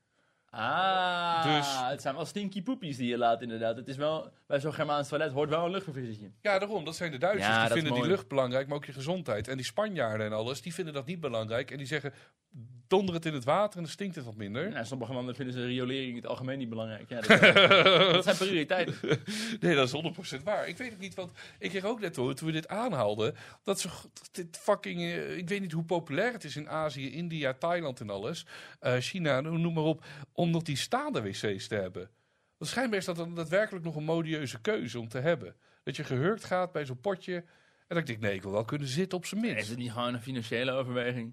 A: Ah,
B: Dus-
A: het zijn wel stinky poepies die je laat inderdaad. Het is wel, bij zo'n Germaans toilet hoort wel een luchtverfrissertje.
B: Ja, daarom. Dat zijn de Duitsers.
A: Ja,
B: die
A: dat is
B: vinden die
A: mooi.
B: lucht belangrijk, maar ook je gezondheid. En die Spanjaarden en alles, die vinden dat niet belangrijk. En die zeggen, donder het in het water en dan stinkt het wat minder.
A: Nou, sommige landen vinden ze riolering in het algemeen niet belangrijk. Ja, dat, dat zijn prioriteiten.
B: Nee, dat is 100% waar. Ik weet het niet, want ik kreeg ook net te horen toen we dit aanhaalden. Dat ze g- dit fucking. eh, ik weet niet hoe populair het is in Azië, India, Thailand en alles. eh, China, no- noem maar op. Om nog die staande wc's te hebben. Dat schijnbaar is dat dan daadwerkelijk nog een modieuze keuze om te hebben. Dat je gehurkt gaat bij zo'n potje. En dat ik denk, nee, ik wil wel kunnen zitten op zijn
A: Is
B: minst.
A: het niet gewoon een financiële overweging?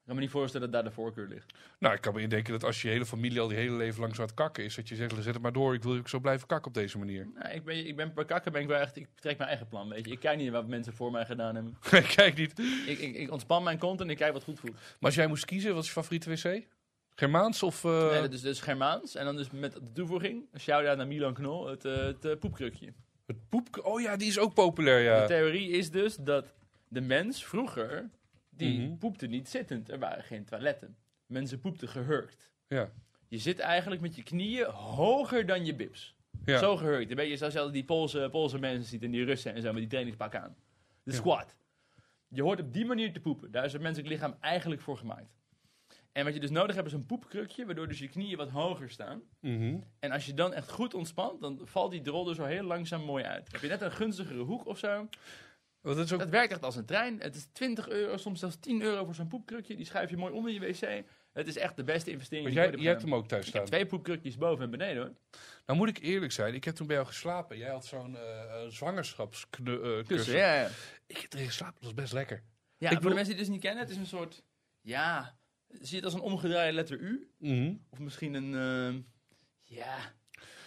A: Ik kan me niet voorstellen dat daar de voorkeur ligt.
B: Nou, ik kan me indenken dat als je hele familie al die hele leven lang zo aan het kakken is. Dat je zegt, zet het maar door, ik wil ook zo blijven kakken op deze manier.
A: Nou, ik, ben, ik ben per kakker ben ik wel echt... Ik trek mijn eigen plan, weet je. Ik kijk niet wat mensen voor mij gedaan hebben.
B: Kijk niet.
A: Ik, ik, ik ontspan mijn kont en ik kijk wat goed voelt.
B: Maar als jij moest kiezen, wat is je favoriete wc? Germaans of... eh,
A: Nee, dat is dus Germaans. En dan dus met de toevoeging, een shout-out naar Milan Knol, het, eh, het eh, poepkrukje.
B: Het poep... Oh ja, die is ook populair, ja.
A: De theorie is dus dat de mens vroeger, die
B: Mhm.
A: poepte niet zittend. Er waren geen toiletten. Mensen poepten gehurkt.
B: Ja.
A: Je zit eigenlijk met je knieën hoger dan je bips.
B: Ja.
A: Zo gehurkt. Dan ben je zoals je altijd die Poolse, Poolse mensen ziet en die Russen en zo met die trainingspak aan. De squat. Je hoort op die manier te poepen. Daar is het menselijk lichaam eigenlijk voor gemaakt. En wat je dus nodig hebt is een poepkrukje, waardoor dus je knieën wat hoger staan.
B: Mhm.
A: En als je dan echt goed ontspant, dan valt die drol er zo heel langzaam mooi uit. Heb je net een gunstigere hoek of zo?
B: Want dat is ook...
A: Dat werkt echt als een trein. Het is 20 euro, soms zelfs 10 euro voor zo'n poepkrukje. Die schuif je mooi onder je wc. Het is echt de beste investering
B: Want
A: die
B: jij,
A: ik ooit
B: jij
A: heb
B: hebt
A: gedaan.
B: hem ook thuis
A: Ik heb
B: staan.
A: twee poepkrukjes boven en beneden hoor.
B: Nou moet ik eerlijk zijn, ik heb toen bij jou geslapen. Jij had zo'n eh zwangerschapskussen.
A: Kussen, ja. ja.
B: Ik heb erin geslapen, dat was best lekker.
A: ja voor
B: bedoel-
A: de mensen die het dus niet kennen, het is een soort... Ja, zie je het als een omgedraaide letter U?
B: Mhm.
A: Of misschien een... ehm, ja,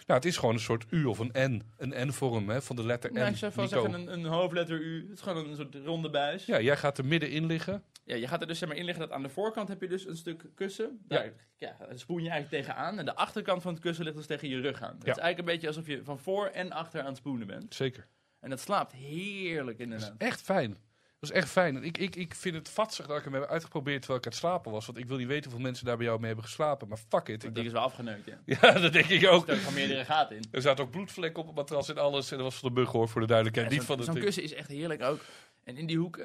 B: Nou, het is gewoon een soort U of een N. Een N-vorm hè, van de letter N.
A: nou, ik zou wel
B: Nico.
A: zeggen een, een hoofdletter U. Het is gewoon een soort ronde buis.
B: Ja, jij gaat er middenin liggen.
A: Ja, je gaat er dus zeg maar in liggen dat aan de voorkant heb je dus een stuk kussen. Daar, ja. daar spoen je eigenlijk tegenaan. En de achterkant van het kussen ligt dus tegen je rug aan. Het is eigenlijk een beetje alsof je van voor en achter aan het spoenen bent.
B: Zeker.
A: En dat slaapt heerlijk
B: Dus Dat is
A: inderdaad.
B: echt fijn. Dat was echt fijn. En Ik, ik, ik vind het vatsig dat ik hem heb uitgeprobeerd terwijl ik aan het slapen was. Want ik wil niet weten hoeveel mensen daar bij jou mee hebben geslapen. Maar fuck it. Ik
A: Dat ding is wel afgeneukt, ja.
B: dacht- ja, dat denk ik ook.
A: Er gaan meerdere gaten in.
B: Er zaten ook bloedvlekken op het matras en alles. En dat was van de bug hoor, voor de duidelijkheid.
A: Ja,
B: niet
A: zo'n-
B: van het
A: Zo'n
B: ding.
A: kussen is echt heerlijk ook. En in die hoek, eh,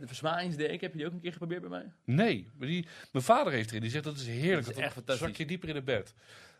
A: de verzwaringsdeken, heb je die ook een keer geprobeerd bij mij?
B: Nee, maar die, mijn vader heeft erin. Die zegt dat is heerlijk.
A: Dat is
B: dan
A: echt fantastisch.
B: Zak je dieper in het bed.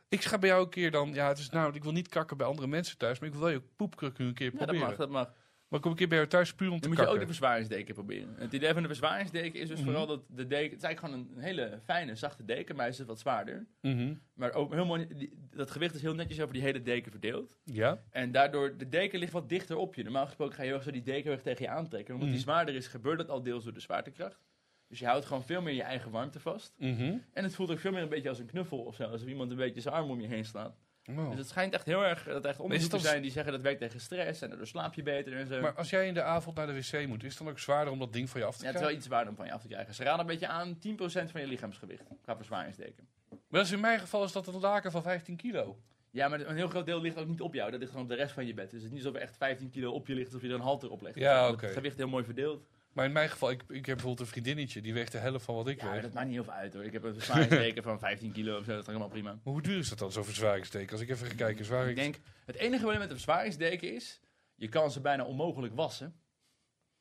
B: Ik ga bij jou een keer dan. Ja, het is nou, ik wil niet kakken bij andere mensen thuis, maar ik wil wel je poepkruk nu een keer
A: Ja, dat
B: proberen.
A: mag, dat mag.
B: Maar ik kom een keer bij jou thuis puur om te
A: Dan moet je
B: kakken.
A: ook de verzwaringsdeken proberen. Het idee van de verzwaringsdeken is dus
B: Mhm.
A: vooral dat de deken... Het is eigenlijk gewoon een hele fijne, zachte deken, maar hij is dus wat zwaarder.
B: Mhm.
A: Maar ook heel mooi, die- dat gewicht is heel netjes over die hele deken verdeeld.
B: Ja.
A: En daardoor, de deken ligt wat dichter op je. Normaal gesproken ga je heel erg zo die deken heel erg tegen je aantrekken. Omdat
B: Mhm.
A: die zwaarder is, gebeurt dat al deels door de zwaartekracht. Dus je houdt gewoon veel meer je eigen warmte vast.
B: Mhm.
A: En het voelt ook veel meer een beetje als een knuffel of zo. Als iemand een beetje zijn arm om je heen slaat.
B: Oh.
A: Dus het schijnt echt heel erg, dat er echt onderzoeken
B: dan-
A: zijn die zeggen dat werkt tegen stress. En daardoor slaap je beter en zo.
B: Maar als jij in de avond naar de wc moet, is het dan ook zwaarder om dat ding van je af te
A: Ja, het is
B: krijgen?
A: wel iets zwaarder om van je af te krijgen. Ze raden een beetje aan 10% van je lichaamsgewicht qua verzwaringsdeken.
B: Maar dat is in mijn geval is dat een laken van 15 kilo.
A: Ja, maar een heel groot deel ligt ook niet op jou. Dat ligt gewoon op de rest van je bed. Dus het is niet alsof er echt 15 kilo op je ligt of je er een halter op legt.
B: Ja,
A: Dat
B: oké.
A: Het gewicht heel mooi verdeeld.
B: Maar in mijn geval, ik, ik heb bijvoorbeeld een vriendinnetje, die weegt de helft van wat ik
A: Ja, maar
B: weeg.
A: dat maakt niet heel veel uit hoor. Ik heb een verzwaringsdeken van 15 kilo of zo. Dat is allemaal prima.
B: Maar hoe duur is dat dan, zo'n verzwaringsteken? Als ik even ga kijken, zwaar
A: Ik denk, het enige probleem met een verzwaringsdeken is, je kan ze bijna onmogelijk wassen.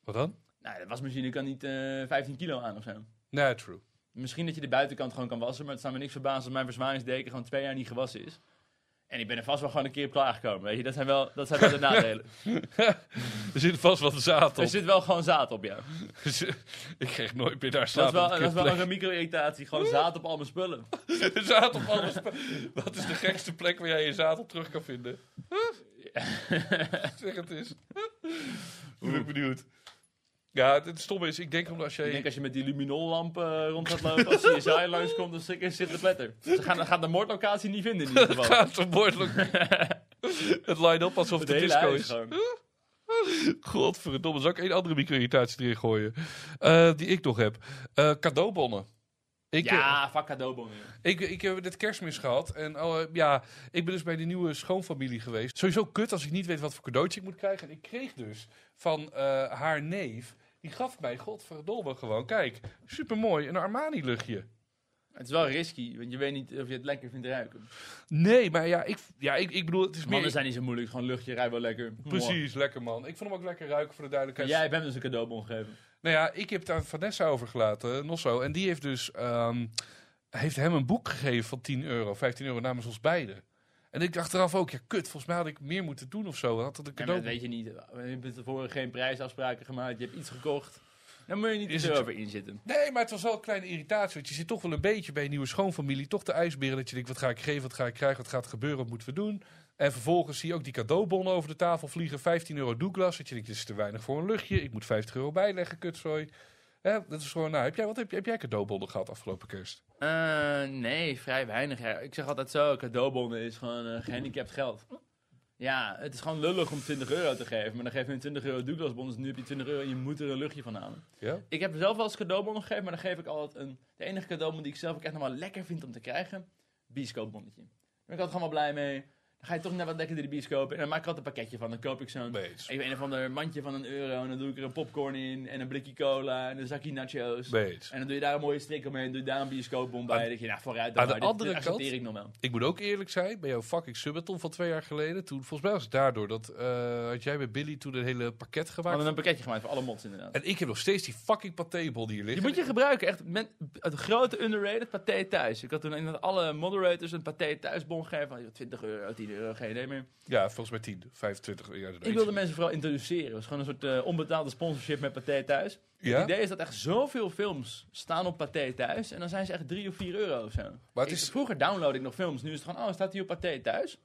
B: Wat dan?
A: Nou, de wasmachine kan niet eh, 15 kilo aan of zo.
B: Nee, true.
A: Misschien dat je de buitenkant gewoon kan wassen, maar het zou me niks verbazen als mijn verzwaringsdeken gewoon twee jaar niet gewassen is. En ik ben er vast wel gewoon een keer op klaargekomen, weet je. Dat zijn wel, dat zijn wel de nadelen.
B: Er zit vast wat zaad op. Dus, eh,
A: Er zit wel gewoon zaad op, ja.
B: ik kreeg nooit meer daar
A: Dat is
B: slaap
A: wel,
B: op
A: dat
B: de
A: is wel
B: kutplek.
A: een micro-irritatie. Gewoon zaad op al mijn spullen.
B: zaad op alles. Wat is de gekste plek waar jij je zaad op terug kan vinden? zeg het eens. Hoe ben ik benieuwd. Ja, het, het stomme is, ik denk omdat als jij...
A: Ik denk als je met die luminollamp eh, rond gaat lopen, als je CSI langskomt, dan zit zit de pletter. Ze gaan, gaan de moordlocatie niet vinden in ieder geval.
B: gaat zo moordelijk. het line-up alsof
A: Het
B: het de
A: hele
B: disco
A: huis
B: is.
A: gewoon.
B: Godverdomme, zou ik één andere micro-irritatie erin gooien? Eh, die ik nog heb. Eh, cadeaubonnen. Ik, eh,
A: Ja, fuck cadeaubonnen.
B: Ik, ik heb dit kerstmis gehad. En oh, eh, ja, ik ben dus bij die nieuwe schoonfamilie geweest. Sowieso kut als ik niet weet wat voor cadeautje ik moet krijgen. En ik kreeg dus van eh, haar neef. Die gaf mij, godverdomme, gewoon. Kijk, supermooi. Een Armani-luchtje.
A: Het is wel risky, want je weet niet of je het lekker vindt ruiken.
B: Nee, maar ja, ik, ja, ik, ik bedoel, het is meer...
A: Mannen zijn niet zo moeilijk, gewoon luchtje, ruikt wel lekker.
B: Precies, lekker man. Ik vond hem ook lekker ruiken voor de
A: En
B: duidelijkheid.
A: jij hebt hem dus een cadeaubon gegeven.
B: Nou ja, ik heb het aan Vanessa overgelaten, nog zo. En die heeft dus ehm, heeft hem een boek gegeven van 10 euro, 15 euro namens ons beiden. En ik dacht eraf ook, ja kut, volgens mij had ik meer moeten doen of zo. Had het een
A: Ja, maar
B: cadeau.
A: dat weet je niet. Je hebt tevoren geen prijsafspraken gemaakt, je hebt iets gekocht. Dan moet je niet
B: Is
A: zo
B: het-
A: over inzitten.
B: Nee, maar het was wel een kleine irritatie. Want je zit toch wel een beetje bij je nieuwe schoonfamilie. Toch de ijsberen dat je denkt, wat ga ik geven, wat ga ik krijgen, wat gaat er gebeuren, wat moeten we doen. En vervolgens zie je ook die cadeaubonnen over de tafel vliegen. 15 euro Douglas. Dat je denkt, dit is te weinig voor een luchtje. Ik moet 50 euro bijleggen, kutzooi. Hè, dat is gewoon, nou, heb jij, wat heb, heb jij cadeaubonnen gehad afgelopen kerst?
A: Eh, nee, vrij weinig. Ja, Ik zeg altijd zo, cadeaubonnen is gewoon eh, gehandicapt geld. Ja, het is gewoon lullig om 20 euro te geven. Maar dan geef je een 20 euro Douglasbon, dus nu heb je 20 euro en je moet er een luchtje van halen.
B: Ja?
A: Ik heb zelf wel eens cadeaubonnen gegeven, maar dan geef ik altijd een... De enige cadeaubon die ik zelf ook echt nog wel lekker vind om te krijgen, bioscoopbonnetje. Daar ben ik altijd gewoon wel blij mee. Dan ga je toch net wat lekker door de bioscoop en dan maak ik altijd een pakketje van. Dan koop ik zo'n...
B: Nee, het is-
A: Even een of ander mandje van een euro en dan doe ik er een popcorn in en een blikje cola en een zakje nachos.
B: Nee, het is-
A: En dan doe je daar een mooie strik omheen, doe je daar een bioscoopbom bij.
B: Aan-
A: dat je, nou vooruit,
B: aan
A: dan
B: de
A: maar, dit-
B: andere
A: dit accepteer
B: kant-
A: ik nog wel.
B: Ik moet ook eerlijk zijn, bij jouw fucking subathon van twee jaar geleden, toen, volgens mij was het daardoor, dat eh, had jij bij Billy toen een hele pakket
A: We
B: gemaakt.
A: hadden een pakketje gemaakt voor alle mods inderdaad.
B: En ik heb nog steeds die fucking patébol die hier ligt.
A: Je moet je gebruiken, echt. Men, het grote underrated paté thuis. Ik had toen inderdaad alle moderators een paté thuisbon gegeven. Van 20 euro, 10 euro, geen idee meer.
B: Ja, volgens mij 10, 25 jaar.
A: Ik wilde mensen vooral introduceren. Het was gewoon een soort eh, onbetaalde sponsorship met Pathé Thuis.
B: Ja?
A: Het idee is dat echt zoveel films staan op Pathé Thuis. En dan zijn ze echt 3 of 4 euro of zo.
B: Maar het
A: Ik-
B: is-
A: Vroeger download ik nog films. Nu is het gewoon, oh, staat die op Pathé Thuis?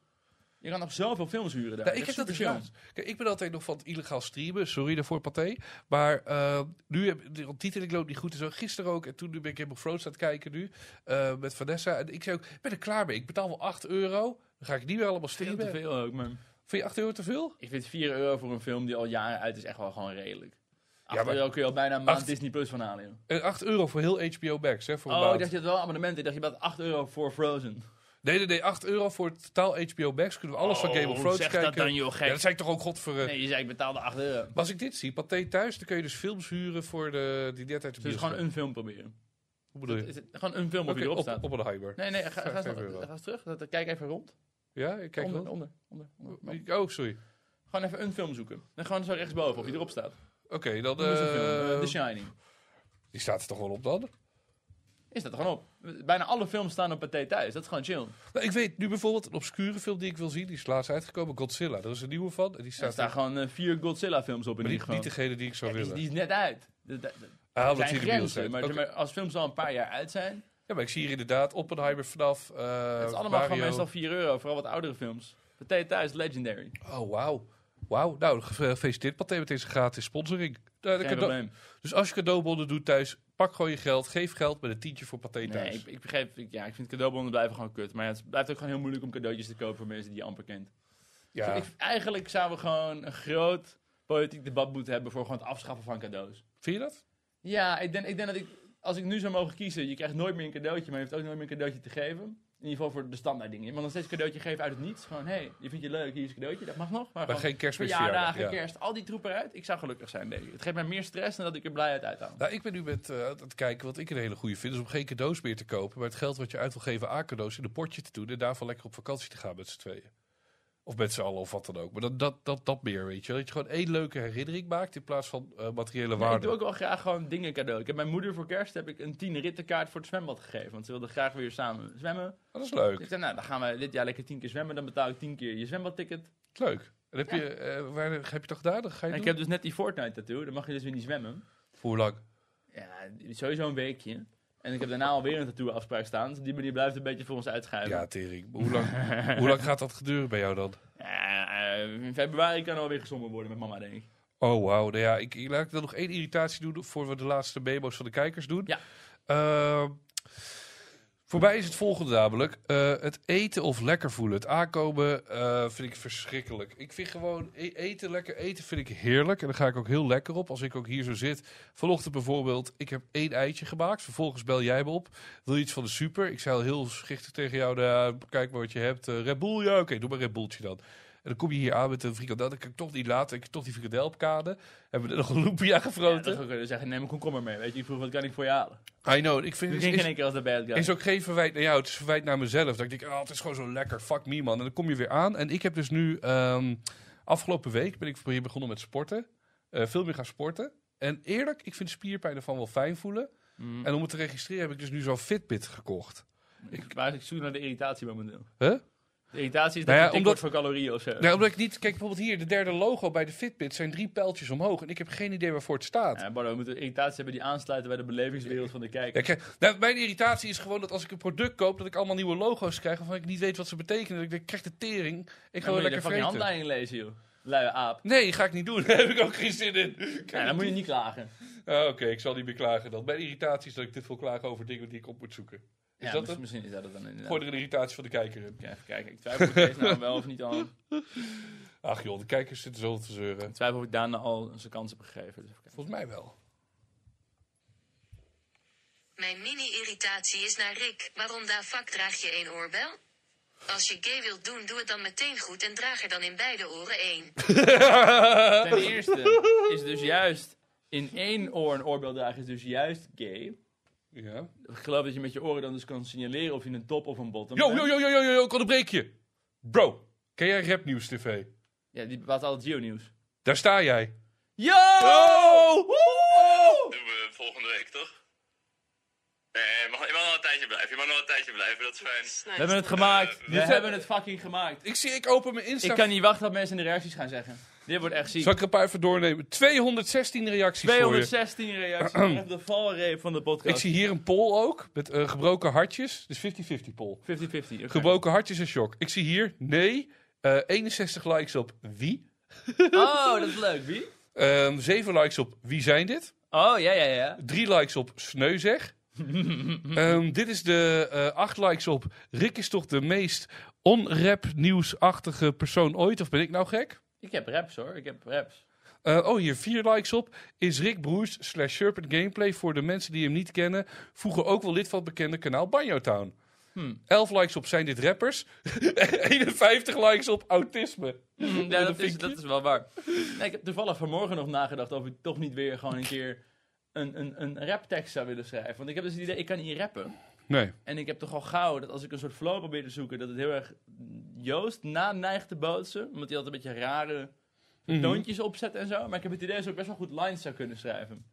A: Je kan nog zoveel films huren daar.
B: Nou, ik heb dat dus laatst. Kijk, ik ben altijd nog van het illegaal streamen. Sorry daarvoor, Pathé. Maar eh, nu heb de ondertiteling loopt niet goed. En zo gisteren ook. En toen ben ik Game of Thrones aan het kijken nu. eh, met Vanessa. En ik zei ook, ik ben er klaar mee. Ik betaal wel 8 euro. Dan ga ik niet meer allemaal
A: Veel
B: streamen.
A: te veel ook, man.
B: Vind je 8 euro te veel?
A: Ik vind 4 euro voor een film die al jaren uit is echt wel gewoon redelijk. 8
B: maar-
A: euro kun je al bijna een maand
B: Acht-
A: Disney Plus van halen, joh.
B: En 8 Eh, euro voor heel HBO Max. Hè, voor een
A: Oh,
B: maand.
A: ik dacht je had wel abonnementen. Ik dacht je betaalt 8 euro voor Frozen.
B: Nee, nee, nee, 8 euro voor het totaal HBO Max. Kunnen we alles van
A: Oh,
B: Game of Thrones
A: zeg dat
B: kijken.
A: dan, joh, gek.
B: Ja, dat zei ik toch ook, godver...
A: Nee, je zei ik betaalde 8 euro.
B: Als ik dit zie, Pathé thuis, dan kun je dus films huren voor de, die net uit de
A: Dus
B: bioscoop.
A: gewoon een film proberen.
B: Hoe bedoel je?
A: Is het gewoon een film op
B: Oké,
A: die erop
B: op,
A: staat?
B: op een hyper.
A: Nee, nee, ga, ga, eens,
B: Vijf euro.
A: ga eens terug. Dat- Kijk even rond.
B: Ja, ik kijk
A: onder,
B: wel.
A: onder, onder, onder.
B: Oh, sorry.
A: Gewoon even een film zoeken. Dan gewoon zo rechtsboven, of die erop staat.
B: Oké, dan...
A: Noem eens een film. Eh,
B: eh,
A: The Shining.
B: die staat er toch wel op dan?
A: Is dat er gewoon op? Bijna alle films staan op Pathé thuis. Dat is gewoon chill.
B: Nou, ik weet nu bijvoorbeeld een obscure film die ik wil zien. Die is laatst uitgekomen. Godzilla. Er is een nieuwe van. En die
A: Er
B: staat
A: staan
B: er,
A: gewoon eh, vier Godzilla-films op in ieder
B: maar niet,
A: geval.
B: niet degene die ik zou
A: Ja, die, is-
B: willen.
A: die is net uit. Dat- dat- dat-
B: ah,
A: zijn
B: omdat die in de bios
A: grenzen,
B: zit.
A: maar,
B: Oké.
A: maar als films al een paar jaar uit zijn,
B: Ja, maar ik zie hier inderdaad Oppenheimer vanaf... eh
A: het is allemaal gewoon
B: Mario.
A: meestal 4 euro, vooral wat oudere films. Pathé thuis, legendary.
B: Oh, wauw. Wauw, nou, ge- gefeliciteerd Pathé met deze gratis sponsoring. Nou, de
A: Geen
B: cadeau-
A: probleem.
B: Dus als je cadeaubonnen doet thuis, pak gewoon je geld. Geef geld met een tientje voor Pathé
A: Nee,
B: thuis.
A: ik, ik begrijp, ik, ja, ik vind cadeaubonnen blijven gewoon kut. Maar ja, het blijft ook gewoon heel moeilijk om cadeautjes te kopen voor mensen die je amper kent. Dus
B: ja.
A: Ik- eigenlijk zouden we gewoon een groot politiek debat moeten hebben voor gewoon het afschaffen van cadeaus.
B: Vind je dat?
A: Ja, ik denk, ik denk dat ik, als ik nu zou mogen kiezen, je krijgt nooit meer een cadeautje, maar je hoeft ook nooit meer een cadeautje te geven. In ieder geval voor de standaard dingen. Maar dan steeds een cadeautje geven uit het niets. Gewoon, hé, hey, je vindt je leuk, hier is een cadeautje, dat mag nog. Maar,
B: Maar
A: gewoon
B: geen kerst met
A: verjaardagen,
B: verjaardag, ja.
A: kerst, al die troep eruit. Ik zou gelukkig zijn, nee. Het geeft mij meer stress dan dat ik er blij uit uithaal.
B: Nou, ik ben nu met eh, aan het kijken wat ik een hele goede vind. Is om geen cadeaus meer te kopen. Maar het geld wat je uit wil geven aan cadeaus in een potje te doen. En daarvan lekker op vakantie te gaan met z'n tweeën. Of met z'n allen of wat dan ook. Maar dat, dat, dat, dat meer, weet je. wel. Dat je gewoon één leuke herinnering maakt in plaats van eh, materiële
A: Nee, ik
B: waarde.
A: doe ook wel graag gewoon dingen cadeau. Ik heb mijn moeder voor kerst heb ik een 10 rittenkaart voor het zwembad gegeven. Want ze wilde graag weer samen zwemmen.
B: Oh, dat is leuk.
A: Dus ik zei, nou, dan gaan we dit jaar lekker 10 keer zwemmen. Dan betaal ik 10 keer je zwembadticket.
B: Dat is leuk. En heb, je, eh, waar, heb je toch gedaan? Dan ga je
A: En ik
B: doen?
A: heb dus net die Fortnite-tattoo. Dan mag je dus weer niet zwemmen.
B: Voor hoe lang?
A: Ja, sowieso een weekje. En ik heb daarna alweer een tattoo-afspraak staan. Dus op die manier blijft het een beetje voor ons uitschuiven.
B: Ja, tering. Maar Hoe lang, hoe lang gaat dat gebeuren bij jou dan?
A: Ja, eh, in februari kan er alweer gezongen worden met mama, denk ik.
B: Oh, wauw. Nou ja, ik, ik, laat ik dan nog één irritatie doen voor we de laatste memo's van de kijkers doen.
A: Ja.
B: Ehm, voor mij is het volgende namelijk. eh, het eten of lekker voelen. Het aankomen eh, vind ik verschrikkelijk. Ik vind gewoon e- eten, lekker eten vind ik heerlijk. En daar ga ik ook heel lekker op. Als ik ook hier zo zit. Vanochtend bijvoorbeeld, ik heb één eitje gemaakt. Vervolgens bel jij me op. Wil je iets van de super? Ik zei al heel schichtig tegen jou. nou, kijk maar wat je hebt. Eh, Red Bull, ja oké, doe maar Red Bulltje dan. En dan kom je hier aan met een frikandel. Dan kan ik toch niet laten. Ik heb toch die frikandel op kade. Hebben we er nog een loempia
A: Ja,
B: gefroten.
A: dat zou kunnen zeggen, neem een komkommer mee. Weet je, ik vroeg, wat kan ik voor je halen?
B: I know. Ik vind
A: Ik
B: het
A: denk
B: is,
A: in één keer als de bad guy.
B: is ook geen verwijt naar jou. Het is verwijt naar mezelf. Dat ik denk, oh, het is gewoon zo lekker. Fuck me, man. En dan kom je weer aan. En ik heb dus nu... ehm, afgelopen week ben ik weer begonnen met sporten. Eh, veel meer gaan sporten. En eerlijk, ik vind spierpijn ervan wel fijn voelen.
A: Mm.
B: En om het te registreren heb ik dus nu zo'n Fitbit gekocht.
A: ik, maar ik zoek naar de irritatie momenteel.
B: Huh?
A: De irritatie is dat
B: Nou ja,
A: je dik
B: omdat-
A: wordt voor calorieën of zo.
B: Nou, omdat ik niet... Kijk, bijvoorbeeld hier, de derde logo bij de Fitbit zijn drie pijltjes omhoog. En ik heb geen idee waarvoor het staat.
A: Ja, Bardo, we moeten irritaties hebben die aansluiten bij de belevingswereld van de
B: Ja,
A: kijker.
B: ik krijg- nou, mijn irritatie is gewoon dat als ik een product koop, dat ik allemaal nieuwe logo's krijg waarvan ik niet weet wat ze betekenen. Dat ik denk, krijg de tering. Ik ga
A: Dan
B: wel
A: moet je de
B: lekker
A: fucking
B: vreten.
A: handleiding lezen, joh. Luie aap.
B: Nee, ga ik niet doen. Daar heb ik ook geen zin in. Kijk,
A: Ja, dan moet je niet klagen.
B: Ah, Oké, ik zal niet meer klagen dan. Mijn irritatie is dat ik te veel klagen over dingen die ik op moet zoeken. Is
A: Ja,
B: dat
A: misschien,
B: het?
A: misschien is dat het dan inderdaad.
B: Gooi er een irritatie van de kijker in.
A: Ja, Even kijken, ik twijfel of deze nou wel of niet al.
B: Ach joh, de kijkers zitten zo te zeuren.
A: Ik twijfel of ik Daan al zijn kans heb gegeven. Dus even kijken.
B: Volgens mij wel.
G: Mijn mini-irritatie is naar Rick. Waarom daar vak draag je één oorbel? Als je gay wilt doen, doe het dan meteen goed en draag er dan in beide oren één.
B: Eh.
A: Ten eerste is dus juist in één oor een oorbel dragen is dus juist gay.
B: Ja.
A: Ik geloof dat je met je oren dan dus kan signaleren of je een top of een bottom
B: Yo,
A: bent.
B: yo, yo, yo, yo, yo, ik onderbreek je. Bro, ken jij Rapnieuws TV?
A: Ja, die bepaalt altijd Geo-nieuws.
B: Daar sta jij.
A: Yo!
C: Doen we volgende week, toch? Nee, je mag, je mag nog een tijdje blijven. Je mag nog een tijdje blijven, dat is fijn. Eh,
A: We hebben het gemaakt. We hebben het fucking gemaakt.
B: Ik zie, ik open mijn Insta.
A: Ik kan niet wachten dat mensen in de reacties gaan zeggen. Dit wordt echt
B: Zal
A: ziek.
B: ik er een paar even doornemen? 216 reacties voor je.
A: 216 reacties. Echt de valreep van de
B: Ik
A: podcast. 50-50.
B: zie hier een poll ook, met eh, gebroken hartjes. Dus 50-50 poll.
A: oké.
B: Gebroken hartjes en shock. Ik zie hier, nee, eh, 61 likes op wie.
A: Oh, dat is leuk. Wie?
B: Ehm 7 likes op wie zijn dit.
A: Oh, ja, ja, ja.
B: 3 likes op sneu zeg. Ehm, dit is de eh 8 likes op Rick is toch de meest onrap nieuwsachtige persoon ooit. Of ben ik nou gek?
A: Ik heb raps hoor. Ik heb raps.
B: Eh, oh, hier vier likes op. Is Rick Broers slash Sherpen Gameplay voor de mensen die hem niet kennen. Vroeger ook wel lid van het bekende kanaal Banjo Town. 11 likes op zijn dit rappers. 51 likes op autisme.
A: Ja, dat is, dat is wel waar. Nee, ik heb toevallig vanmorgen nog nagedacht of ik toch niet weer gewoon een keer een, een, een raptekst zou willen schrijven. Want ik heb dus het idee, ik kan niet rappen.
B: Nee.
A: En ik heb toch al gauw dat als ik een soort flow probeer te zoeken, dat het heel erg Joost na neigt te bootsen. Omdat hij altijd een beetje rare toontjes opzet en zo. Maar ik heb het idee dat ik best wel goed lines zou kunnen schrijven.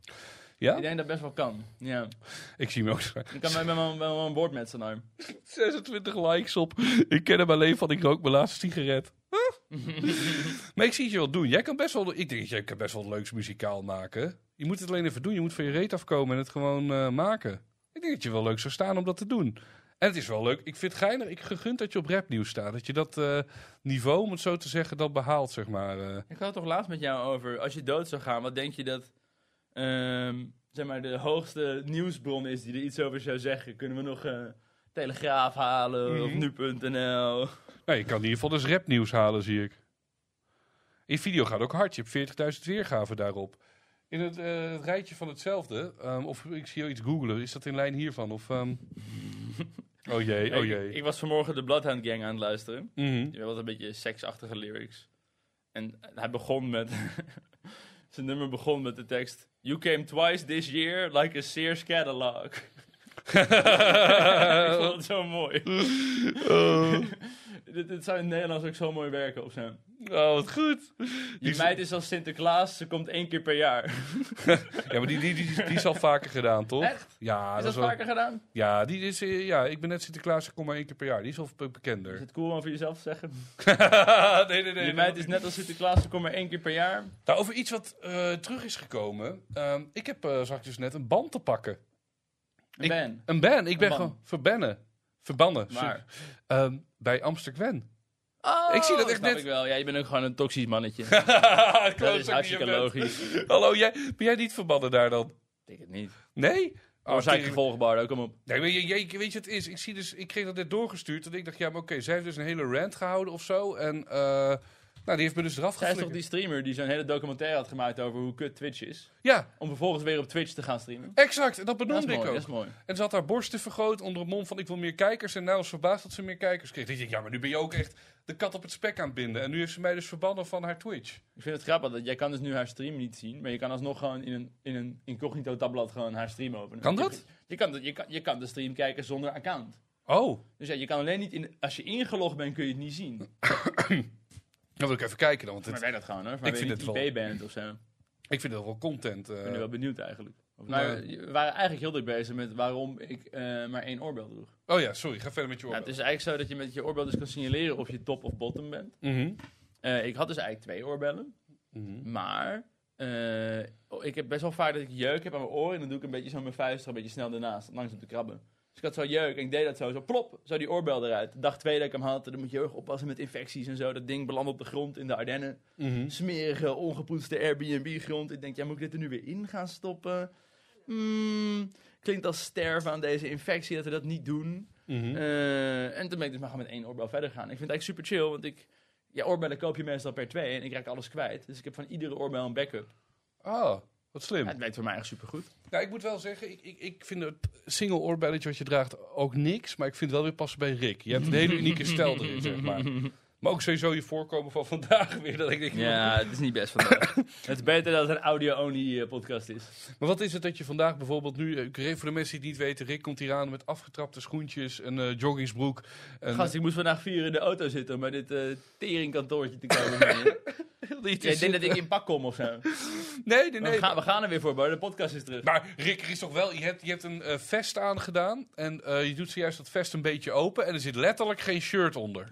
B: Ja?
A: Ik denk dat best wel kan. Ja.
B: Ik zie hem ook schrijven.
A: Ik kan wel- wel wel een woord met zijn arm.
B: 26 likes op. Ik ken hem alleen van ik rook mijn laatste sigaret. Huh? maar ik zie het je wel doen. Jij kan best wel, ik denk, jij kan best wel leuks muzikaal maken. Je moet het alleen even doen. Je moet van je reet afkomen en het gewoon eh, maken. Ik denk dat je wel leuk zou staan om dat te doen. En het is wel leuk. Ik vind het geinig. Ik gegund dat je op rapnieuws staat. Dat je dat eh, niveau, om het zo te zeggen, dat behaalt, zeg maar. eh.
A: Ik had het toch laatst met jou over, als je dood zou gaan, wat denk je dat ehm, zeg maar, de hoogste nieuwsbron is die er iets over zou zeggen? Kunnen we nog eh, Telegraaf halen
B: Mhm.
A: of nu.nl?
B: Nou, je kan in ieder geval dus rapnieuws halen, zie ik. In video gaat ook hard. Je hebt 40.000 weergaven daarop. In het, eh, het rijtje van hetzelfde, ehm, of ik zie jou iets googelen, is dat in lijn hiervan? Of, ehm, Oh jee, oh
A: Ik,
B: jee.
A: ik was vanmorgen de Bloodhound Gang aan het luisteren.
B: Mhm.
A: Die had een beetje seksachtige lyrics. En hij begon met. zijn nummer begon met de tekst. You came twice this year like a Sears catalog. ik vond het zo mooi. dit, dit zou in het Nederlands ook zo mooi werken op zijn.
B: Oh, wat goed.
A: Die meid is als Sinterklaas, ze komt één keer per jaar.
B: Ja, maar die, die, die, die is al vaker gedaan, toch?
A: Echt?
B: Ja,
A: is dat
B: wel-
A: vaker gedaan?
B: Ja, die is, eh, ja, ik ben net Sinterklaas, ik kom maar één keer per jaar. Die is al be- bekender.
A: Is het cool om voor jezelf te zeggen?
B: nee, nee, nee.
A: Die meid is net als Sinterklaas, ze komt maar één keer per jaar.
B: Nou, over iets wat eh, terug is gekomen. Ehm, ik heb, eh, zag ik dus net, een band te pakken.
A: Een
B: Ik-
A: ban.
B: Een ban. Ik ben
A: ban.
B: gewoon verbannen. Verbannen.
A: Maar-
B: sorry. Ehm, bij Amsterdam.
A: Oh,
B: Ik zie dat echt
A: snap
B: net-
A: ik wel. Ja, je bent ook gewoon een toxisch mannetje. dat is hartstikke logisch.
B: Hallo, jij, ben jij niet verbannen daar dan?
A: Ik denk het niet.
B: Nee? Oh,
A: Oorzake
B: tering-
A: gevolgbaar, ook kom op.
B: Nee, weet, je, je- weet je wat het is? Ik, zie dus, ik kreeg dat net doorgestuurd. En ik dacht, ja, maar oké, zij heeft dus een hele rant gehouden of zo. En eh, nou, die heeft me dus eraf
A: Zij is toch
B: geflikkerd.
A: die streamer die zo'n hele documentaire had gemaakt over hoe kut Twitch is.
B: Ja,
A: Om vervolgens weer op Twitch te gaan streamen.
B: exact. En dat
A: Dat is
B: benoemde
A: mooi,
B: ik ook.
A: dat is mooi.
B: En ze had haar borsten vergroot onder het mom van ik wil meer kijkers. En nou was verbaasd dat ze meer kijkers kreeg. Ik dacht, ja, maar nu ben je ook echt de kat op het spek aan het binden. En nu heeft ze mij dus verbannen van haar Twitch.
A: Ik vind het grappig dat jij kan dus nu haar stream niet zien, maar je kan alsnog gewoon in een, in een incognito tabblad gewoon haar stream openen.
B: Kan
A: Je-
B: dat?
A: Je kan, de- je, kan, je kan de stream kijken zonder account.
B: Oh.
A: Dus ja, je kan alleen niet, in, als je ingelogd bent kun je het niet zien.
B: Dan wil ik even kijken dan, want
A: Maar
B: het-
A: wij dat gewoon hoor, maar
B: vind
A: ik
B: het
A: vind
B: wel-
A: niet IP bent of zo. Ik
B: ik vind dat wel content. eh.
A: ben nu wel benieuwd eigenlijk. Of, maar
B: Nee.
A: we waren eigenlijk heel druk bezig met waarom ik eh, maar één oorbel droeg.
B: Oh ja, sorry, ga verder met je
A: Ja,
B: oorbel.
A: het is eigenlijk zo dat je met je oorbel dus kan signaleren of je top of bottom bent.
B: Mhm.
A: Eh, ik had dus eigenlijk twee oorbellen.
B: Mhm.
A: Maar eh, oh, ik heb best wel vaak dat ik jeuk heb aan mijn oren. En dan doe ik een beetje zo mijn vuist er een beetje snel daarnaast. Langs om te krabben. Dus ik had zo jeuk en ik deed dat zo. Zo plop, zo die oorbel eruit. Dag twee dat ik hem had. Dan moet je heel erg oppassen met infecties en zo. Dat ding belandt op de grond in de Ardennen.
B: Mhm.
A: Smerige, ongepoetste Airbnb-grond. Ik denk, ja, moet ik dit er nu weer in gaan stoppen? Hmm, klinkt als sterven aan deze infectie dat we dat niet doen.
B: Mhm.
A: Eh, en toen ben ik dus maar gewoon met één oorbel verder gaan. Ik vind het eigenlijk super chill, want ik... Ja, oorbellen koop je meestal per twee en ik raak alles kwijt. Dus ik heb van iedere oorbel een backup.
B: Oh, wat slim.
A: Ja, het werkt voor mij echt supergoed.
B: Nou, ik moet wel zeggen, ik, ik, ik vind het single oorbelletje wat je draagt ook niks. Maar ik vind het wel weer passen bij Rick. Je hebt een hele unieke stijl erin, zeg maar. Maar ook sowieso je voorkomen van vandaag weer. Dat ik denk,
A: Ja, het is niet best vandaag. het is beter dat het een audio-only eh, podcast is.
B: Maar wat is het dat je vandaag bijvoorbeeld nu... eh, ik- Voor de mensen die het niet weten, Rick komt hier aan met afgetrapte schoentjes, een eh, joggingsbroek. Een,
A: Gast, ik moest vandaag vier in de auto zitten om bij dit eh, teringkantoortje te komen. Jij denkt dat ik in pak kom of zo.
B: Nee, nee, nee.
A: we, gaan, we gaan er weer voor, maar de podcast is terug.
B: Maar Rick, er is toch wel... Je hebt, je hebt een eh, vest aangedaan en eh, je doet zojuist dat vest een beetje open. En er zit letterlijk geen shirt onder.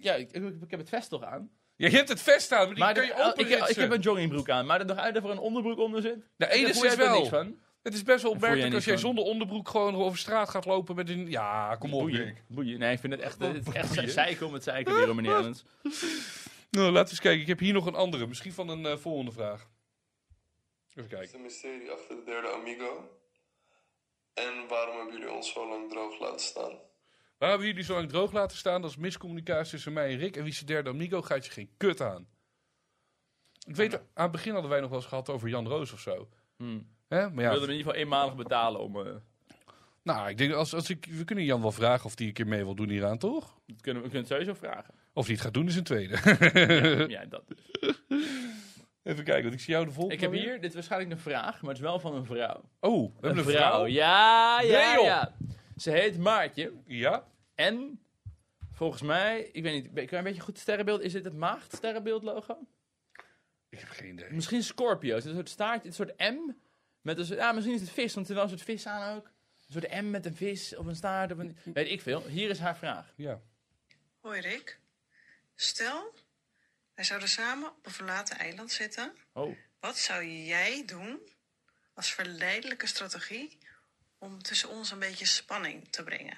A: Ja, ik, ik- ik heb het vest toch aan.
B: Ja, je hebt het vest aan, maar die
A: Maar
B: kun
A: de- oh,
B: je
A: ik,
B: openritsen.
A: ik heb een joggingbroek aan, maar er nog uit dat er een onderbroek onder zit.
B: De
A: Ik
B: ene
A: voel
B: is
A: er
B: wel.
A: niks van.
B: Het is best wel
A: voel jij
B: opmerkelijk als
A: niks
B: jij
A: van.
B: zonder onderbroek gewoon over straat gaat lopen met een... Ja, kom op
A: Boeien.
B: Rick.
A: Boeien. Nee, ik vind het echt, het is echt ze- zeiken om het zeiken weer, meneer Ellens.
B: Nou, laten we eens kijken. Ik heb hier nog een andere. Misschien van een eh, volgende vraag. Even kijken.
H: Het mysterie achter de derde Amigo. En waarom hebben jullie ons zo lang droog laten staan?
B: Waar hebben jullie zo lang droog laten staan? Dat is miscommunicatie tussen mij en Rick. En wie is de derde amigo? Gaat je geen kut aan. Ik weet, aan het begin hadden wij nog wel eens gehad over Jan Roos of zo.
A: Hmm.
B: Hè? Maar
A: Ik
B: ja,
A: wilde hem in ieder geval eenmalig betalen om... eh,
B: Nou, ik denk, als, als ik, we kunnen Jan wel vragen of hij een keer mee wil doen hieraan, toch?
A: Dat kunnen we, we kunnen het sowieso vragen.
B: Of hij het gaat doen is een tweede.
A: ja, dat dus.
B: Even kijken, want ik zie jou de volgende.
A: Ik heb
B: weer.
A: hier, dit is waarschijnlijk een vraag, maar het is wel van een vrouw.
B: Oh, we hebben een vrouw.
A: Ja, ja,
B: Nee, joh.
A: ja. Ze heet Maartje.
B: Ja?
A: En volgens mij, ik weet niet, kan je een beetje goed sterrenbeeld? Is dit het maagd sterrenbeeld logo?
B: Ik heb geen idee.
A: Misschien Scorpio. Het is een soort staartje, een soort M. Met een soort, ja, misschien is het vis, want er is wel een soort vis aan ook. Een soort M met een vis of een staart of een... Weet ik veel. Hier is haar vraag.
B: Ja.
I: Hoi Rick. Stel, wij zouden samen op een verlaten eiland zitten.
A: Oh.
I: Wat zou jij doen als verleidelijke strategie om tussen ons een beetje spanning te brengen?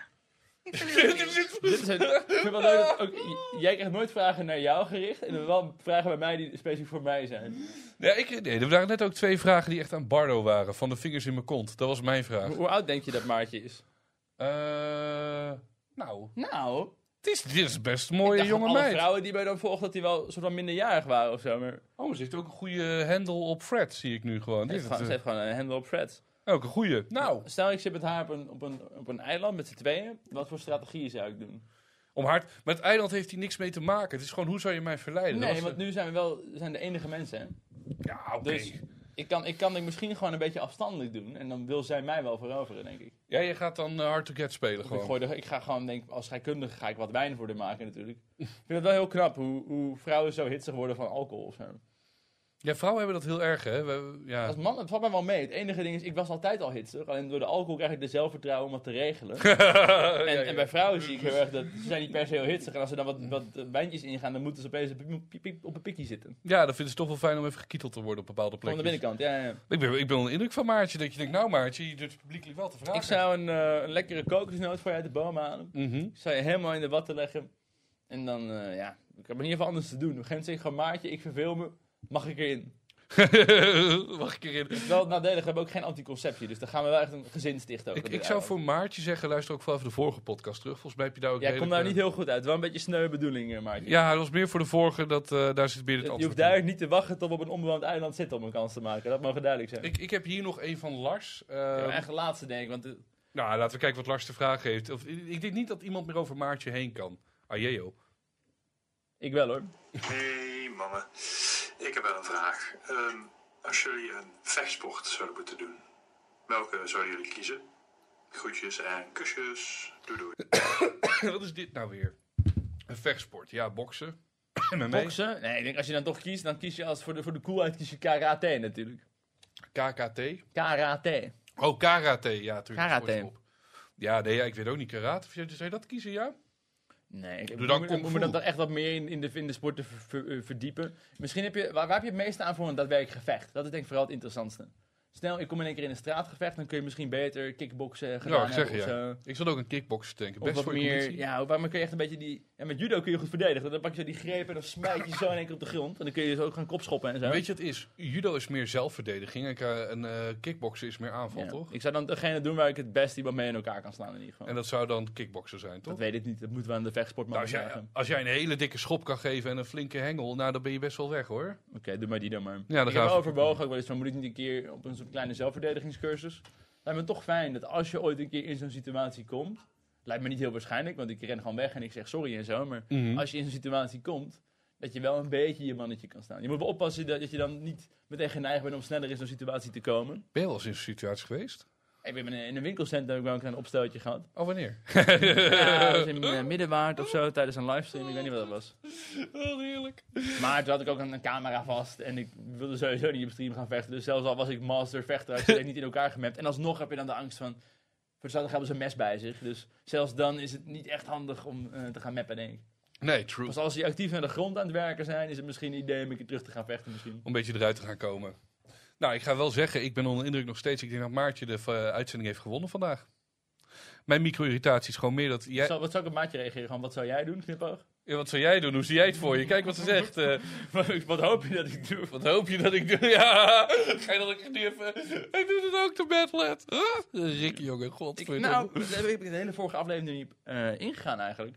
I: Ik ben heel benieuwd.
A: Dit is het. Ik vind het wel leuk dat ook, j- jij krijgt nooit vragen naar jou gericht. En dan wel vragen bij mij die specifiek voor mij zijn.
B: Nee, ik, nee, er waren net ook twee vragen die echt aan Bardo waren. Van de vingers in mijn kont. Dat was mijn vraag.
A: Hoe, hoe oud denk je dat Maartje is?
B: Eh, nou,
A: Nou,
B: het is, dit is best een
A: ik
B: mooie
A: dacht
B: jonge
A: dat alle
B: meid.
A: vrouwen die bij dan volgen dat die wel een soort van minderjarig waren of zo. Maar
B: Oh, ze heeft ook een goede hendel op Fred, zie ik nu gewoon.
A: ze
B: Dit
A: heeft
B: is
A: gewoon, ze heeft gewoon een handel op Fred.
B: ook een goede. Nou,
A: Stel, ik zit met haar op een, op een, op een eiland met z'n tweeën. Wat voor strategieën zou ik doen?
B: om hard. Met het eiland heeft hij niks mee te maken. Het is gewoon, hoe zou je mij verleiden? Dat
A: Nee,
B: was-
A: want nu zijn we wel zijn de enige mensen. Hè?
B: Ja, oké.
A: Dus ik kan, ik kan het misschien gewoon een beetje afstandelijk doen. En dan wil zij mij wel veroveren, denk ik.
B: Ja, je gaat dan eh, hard to get spelen
A: Of ik,
B: gewoon.
A: gooi de, ik ga gewoon, denk ik, als scheikundige ga ik wat wijn voor haar maken natuurlijk. ik vind het wel heel knap hoe, hoe vrouwen zo hitsig worden van alcohol of zo.
B: Ja, vrouwen hebben dat heel erg, hè. We, ja.
A: Als man, het valt mij wel mee. Het enige ding is, ik was altijd al hitsig. Alleen door de alcohol krijg ik de zelfvertrouwen om wat te regelen. En,
B: Ja, ja.
A: en bij vrouwen zie ik heel erg dat ze zijn niet per se heel hitsig. En als ze dan wat, wat eh, wijntjes ingaan, dan moeten ze opeens op, piep- piep- op een pikje zitten.
B: Ja, dan vinden ze het toch wel fijn om even gekieteld te worden op bepaalde
A: Van de
B: plekken.
A: binnenkant, ja. ja, ja.
B: Ik ben, ik ben onder de indruk van Maartje. Dat je denkt, nou Maartje, je doet het publiekelijk wel te vragen.
A: Ik zou een, eh, een lekkere kokosnoot voor je uit de boom halen.
B: Mhm.
A: Ik zou je helemaal in de watten leggen. En dan, eh, ja, ik heb in ieder geval anders te doen. Op een gegeven moment zeg ik gewoon, maatje, ik verveel me. Mag ik erin?
B: Mag ik erin?
A: Wel het nadelig, we hebben ook geen anticonceptie. Dus dan gaan we wel echt een gezin stichten. over
B: Ik,
A: dit
B: ik zou
A: eiland.
B: voor Maartje zeggen, luister ook vooral even de vorige podcast terug. Volgens mij heb je daar ook...
A: Ja, ik kom
B: redelijk,
A: daar niet heel goed uit. Wel een beetje sneu bedoeling, eh, maatje.
B: eh, Ja, dat was meer voor de vorige, dat, eh, daar zit meer het
A: je hoeft
B: antwoord
A: daar
B: in.
A: niet te wachten tot we op een onbewoond eiland zitten om een kans te maken. Dat mogen duidelijk Ehm, zijn.
B: Ik, ik heb hier nog een van Lars. eh,
A: Ja, maar echt de laatste, denk ik. Want eh, de-
B: Nou, laten we kijken wat Lars te vragen heeft. Of, ik ik denk niet dat iemand meer over Maartje heen kan. Ah, jee, joh.
A: ik wel hoor.
J: Hey mannen, ik heb wel een vraag. Ehm, als jullie een vechtsport zouden moeten doen, welke zouden jullie kiezen? Groetjes en kusjes. Doei doei.
B: wat is dit nou weer? Een vechtsport. Ja, boksen. MMA.
A: Boksen? Nee, ik denk als je dan toch kiest, dan kies je als voor de, voor de coolheid kies je karate natuurlijk.
B: KKT.
A: Karate.
B: Oh, karate. Ja, tuurlijk.
A: Karate.
B: sport erop. Ja, nee, ja, ik weet ook niet karate. Of jij- Zou je dat kiezen, ja?
A: Nee, ik
B: Doe dan
A: moet-
B: kung
A: moet
B: fu.
A: me dat dan echt wat meer in, in, de, in de sport te ver- ver- eh, verdiepen. Misschien heb je, waar, waar heb je het meeste aan voor een daadwerkelijk gevecht? Dat is denk ik vooral het interessantste. Snel, ik kom in één keer in een straatgevecht, dan kun je misschien beter kickboksen
B: Ja,
A: gedaan
B: ik zeg
A: hebben of zo.
B: ja. Ik zat ook een kickboksen denken.
A: Of
B: Best
A: wat
B: voor je
A: meer,
B: conditie.
A: ja, waarmee kun je echt een beetje die... En met judo kun je goed verdedigen. Dan pak je zo die greep en dan smijt je zo in één keer op de grond. En dan kun je zo ook gaan kopschoppen en zo.
B: Weet je wat het is? Judo is meer zelfverdediging en ka- en eh, kickboksen is meer aanval,
A: Ja.
B: toch?
A: Ik zou dan degene doen waar ik het best iemand mee in elkaar kan slaan in ieder geval.
B: En dat zou dan kickboksen zijn, toch?
A: dat weet ik niet, dat moeten we aan de vechtsportman
B: Nou, als, jij,
A: vragen.
B: als jij een hele dikke schop kan geven en een flinke hengel, nou, dan ben je best wel weg, hoor.
A: Oké, doe maar die dan maar.
B: dan
A: ik
B: gaan
A: heb
B: we-
A: wel overwogen, ook wel eens van, moet ik niet een keer op een soort kleine zelfverdedigingscursus? Lijkt me toch fijn dat als je ooit een keer in zo'n situatie komt, lijkt me niet heel waarschijnlijk, want ik ren gewoon weg en ik zeg sorry en zo, maar als je in zo'n situatie komt, dat je wel een beetje je mannetje kan staan. Je moet wel oppassen dat, dat je dan niet meteen geneigd bent om sneller in zo'n situatie te komen.
B: Ben je wel eens in zo'n situatie geweest?
A: Ik ben in een- in een winkelcentrum heb ik wel een klein opstootje gehad.
B: Oh, wanneer?
A: Ja, dat was in eh, Middenwaard of zo, tijdens een livestream, ik weet niet wat dat was.
B: Wel heerlijk.
A: Maar toen had ik ook een, een camera vast en ik wilde sowieso niet op stream gaan vechten. Dus zelfs al was ik master vechter, had ik het niet in elkaar gemapt. En alsnog heb je dan de angst van, voor hetzelfde geld hebben ze een mes bij zich. Dus zelfs dan is het niet echt handig om eh, te gaan mappen, denk ik.
B: Nee, true.
A: Pas als je actief naar de grond aan het werken zijn, is het misschien een idee om een keer terug te gaan vechten misschien.
B: Om een beetje eruit te gaan komen. Nou, ik ga wel zeggen, ik ben onder de indruk nog steeds. Ik denk dat Maartje de eh, uitzending heeft gewonnen vandaag. Mijn micro-irritatie is gewoon meer dat... Jij,
A: Zal, wat zou ik op maatje reageren? Gewoon, wat zou jij doen, knipoog?
B: Ja, wat zou jij doen? Hoe zie jij het voor je? Kijk wat ze zegt. eh.
A: Wat- wat hoop je dat ik doe?
B: Wat hoop je dat ik doe? Ja, ga je dat ik nu even... Hij doet het ook te bedlet. Huh? Rick, jongen,
A: Ik,
B: godverdomme.
A: nou, daar heb ik de hele vorige aflevering niet eh, ingegaan eigenlijk.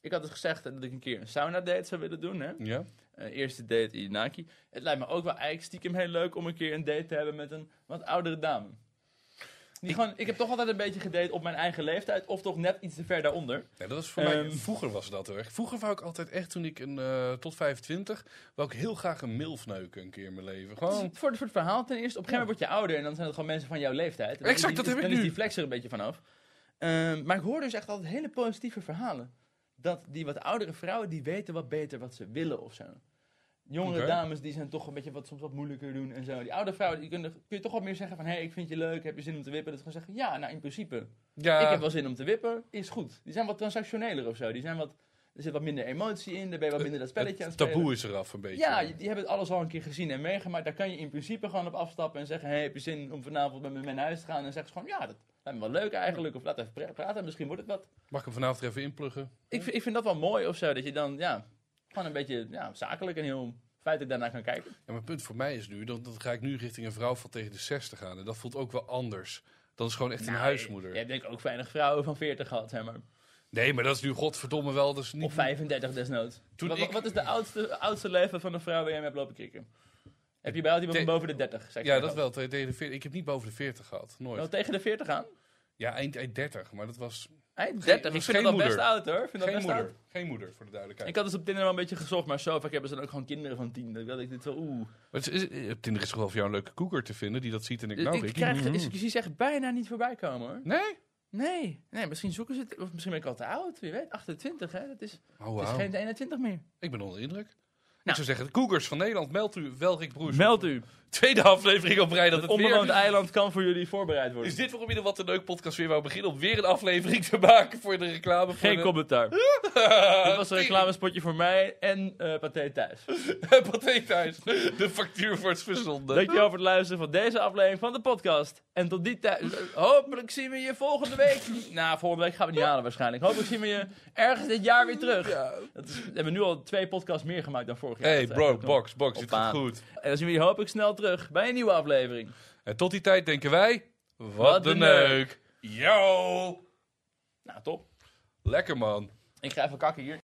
A: Ik had dus gezegd dat ik een keer een sauna date zou willen doen, hè?
B: Ja?
A: Eh, eerste date in Inaki. Het lijkt me ook wel eigenlijk stiekem heel leuk om een keer een date te hebben met een wat oudere dame. Die gewoon, ik heb toch altijd een beetje gedate op mijn eigen leeftijd. Of toch net iets te ver daaronder.
B: Nee, dat was voor mij,
A: Ehm.
B: vroeger was dat heel erg. Vroeger wou ik altijd echt, toen ik een, eh, tot 25, wou ik heel graag een milf neuken een keer in mijn leven.
A: Het is
B: Gewoon,
A: Voor, voor het verhaal ten eerste. Op een gegeven moment word je ouder en dan zijn het gewoon mensen van jouw leeftijd. En dan-
B: Exact,
A: die-
B: dat heb
A: dan
B: ik
A: is
B: nu.
A: die flex er een beetje vanaf. Ehm maar ik hoor dus echt altijd hele positieve verhalen. Dat die wat oudere vrouwen, die weten wat beter wat ze willen of zo. Jongere
B: Oké.
A: dames, die zijn toch een beetje wat, soms wat moeilijker doen en zo. Die oude vrouwen, die kunnen, kun je toch wat meer zeggen van... Hé, hey, ik vind je leuk, heb je zin om te wippen? Dat ze gewoon zeggen, ja, nou in principe.
B: ja,
A: Ik heb wel zin om te wippen, is goed. Die zijn wat transactioneler of zo. Die zijn wat, er zit wat minder emotie in, daar ben je wat minder dat spelletje aan
B: het
A: het spelen.
B: taboe is eraf een beetje.
A: Ja, die hebben het alles al een keer gezien en meegemaakt. Daar kan je in principe gewoon op afstappen en zeggen: hey, heb je zin om vanavond met me mee naar huis te gaan? En zeggen ze gewoon: ja, dat lijkt me wel leuk eigenlijk. Of laat even pra- praten, misschien wordt het wat.
B: Mag ik hem vanavond er even inpluggen?
A: Ik, vind- ik vind dat wel mooi of zo, dat je dan ja, gewoon een beetje ja, zakelijk en heel feitelijk daarna kan kijken.
B: Ja, mijn punt voor mij is nu, dan, dan ga ik nu richting een vrouw van tegen de 60 aan. En dat voelt ook wel anders. Dat is gewoon echt een
A: Nou,
B: huismoeder.
A: Je hebt denk ik ook weinig vrouwen van 40 gehad, hè, maar.
B: Nee, maar dat is nu godverdomme wel. Dat is niet...
A: Of 35 desnoods.
B: Toen
A: Wa- wa-
B: ik-
A: Wat is de oudste, oudste leven van een vrouw waar jij mee hebt lopen kicken? Heb je bij altijd iemand van
B: Te-
A: boven de 30? seks
B: Ja,
A: gehad?
B: dat wel. Tegen de 40. Ik heb niet boven de 40 gehad. Nooit.
A: Wel tegen de 40 aan?
B: Ja, eind, eind 30. Maar dat was
A: Eind
B: Geen-
A: 30?
B: dat
A: Ik
B: is
A: vind
B: geen
A: dat al best
B: moeder.
A: oud hoor. Ik vind dat
B: geen
A: best
B: moeder.
A: oud.
B: Geen moeder, voor de duidelijkheid.
A: Ik had dus op Tinder wel een beetje gezocht, maar zo vaak hebben ze dan ook gewoon kinderen van tien. Dat wil ik dit wel. Oeh.
B: Maar het is, is- op Tinder is toch wel voor jou een leuke koeker te vinden die dat ziet en ik nou,
A: ik
B: Ricky,
A: krijg
B: mhm.
A: is, ik zie ze echt bijna niet voorbij komen hoor.
B: Nee?
A: Nee, nee, misschien zoeken ze het. Of misschien ben ik al te oud, wie weet. 28, hè? Dat is,
B: Oh,
A: het is
B: wauw.
A: geen 21 meer.
B: Ik ben onder de indruk. Ik
A: Nou.
B: zou zeggen, de koekers van Nederland, meld u wel Rick Broers.
A: Meld u.
B: Tweede aflevering op rij dat
A: Het
B: het weer...
A: onbewoond eiland kan voor jullie voorbereid worden.
B: Is dit waarom je de Wat een Leuk podcast weer wou beginnen? Om weer een aflevering te maken voor de reclame. voor
A: Geen
B: de-
A: commentaar. dit was een reclamespotje voor mij en eh Pathé Thuis.
B: Pathé thuis. De factuur wordt verzonden.
A: Dankjewel voor het luisteren van deze aflevering van de podcast. En tot die tijd. Hopelijk zien we je volgende week. nou, volgende week gaan we niet halen waarschijnlijk. Hopelijk zien we je ergens dit jaar weer terug. Dat is, we hebben nu al twee podcasts meer gemaakt dan vorig jaar.
B: Hey
A: Dat is eigenlijk
B: bro,
A: ook nog-
B: box, box, dit
A: op
B: gaat
A: aan.
B: goed.
A: En dan zien we je hopelijk snel terug bij een nieuwe aflevering.
B: En tot die tijd denken wij, wat,
A: Wat
B: een
A: een
B: leuk. Yo!
A: Nou, top.
B: Lekker man.
A: Ik ga even kakken hier.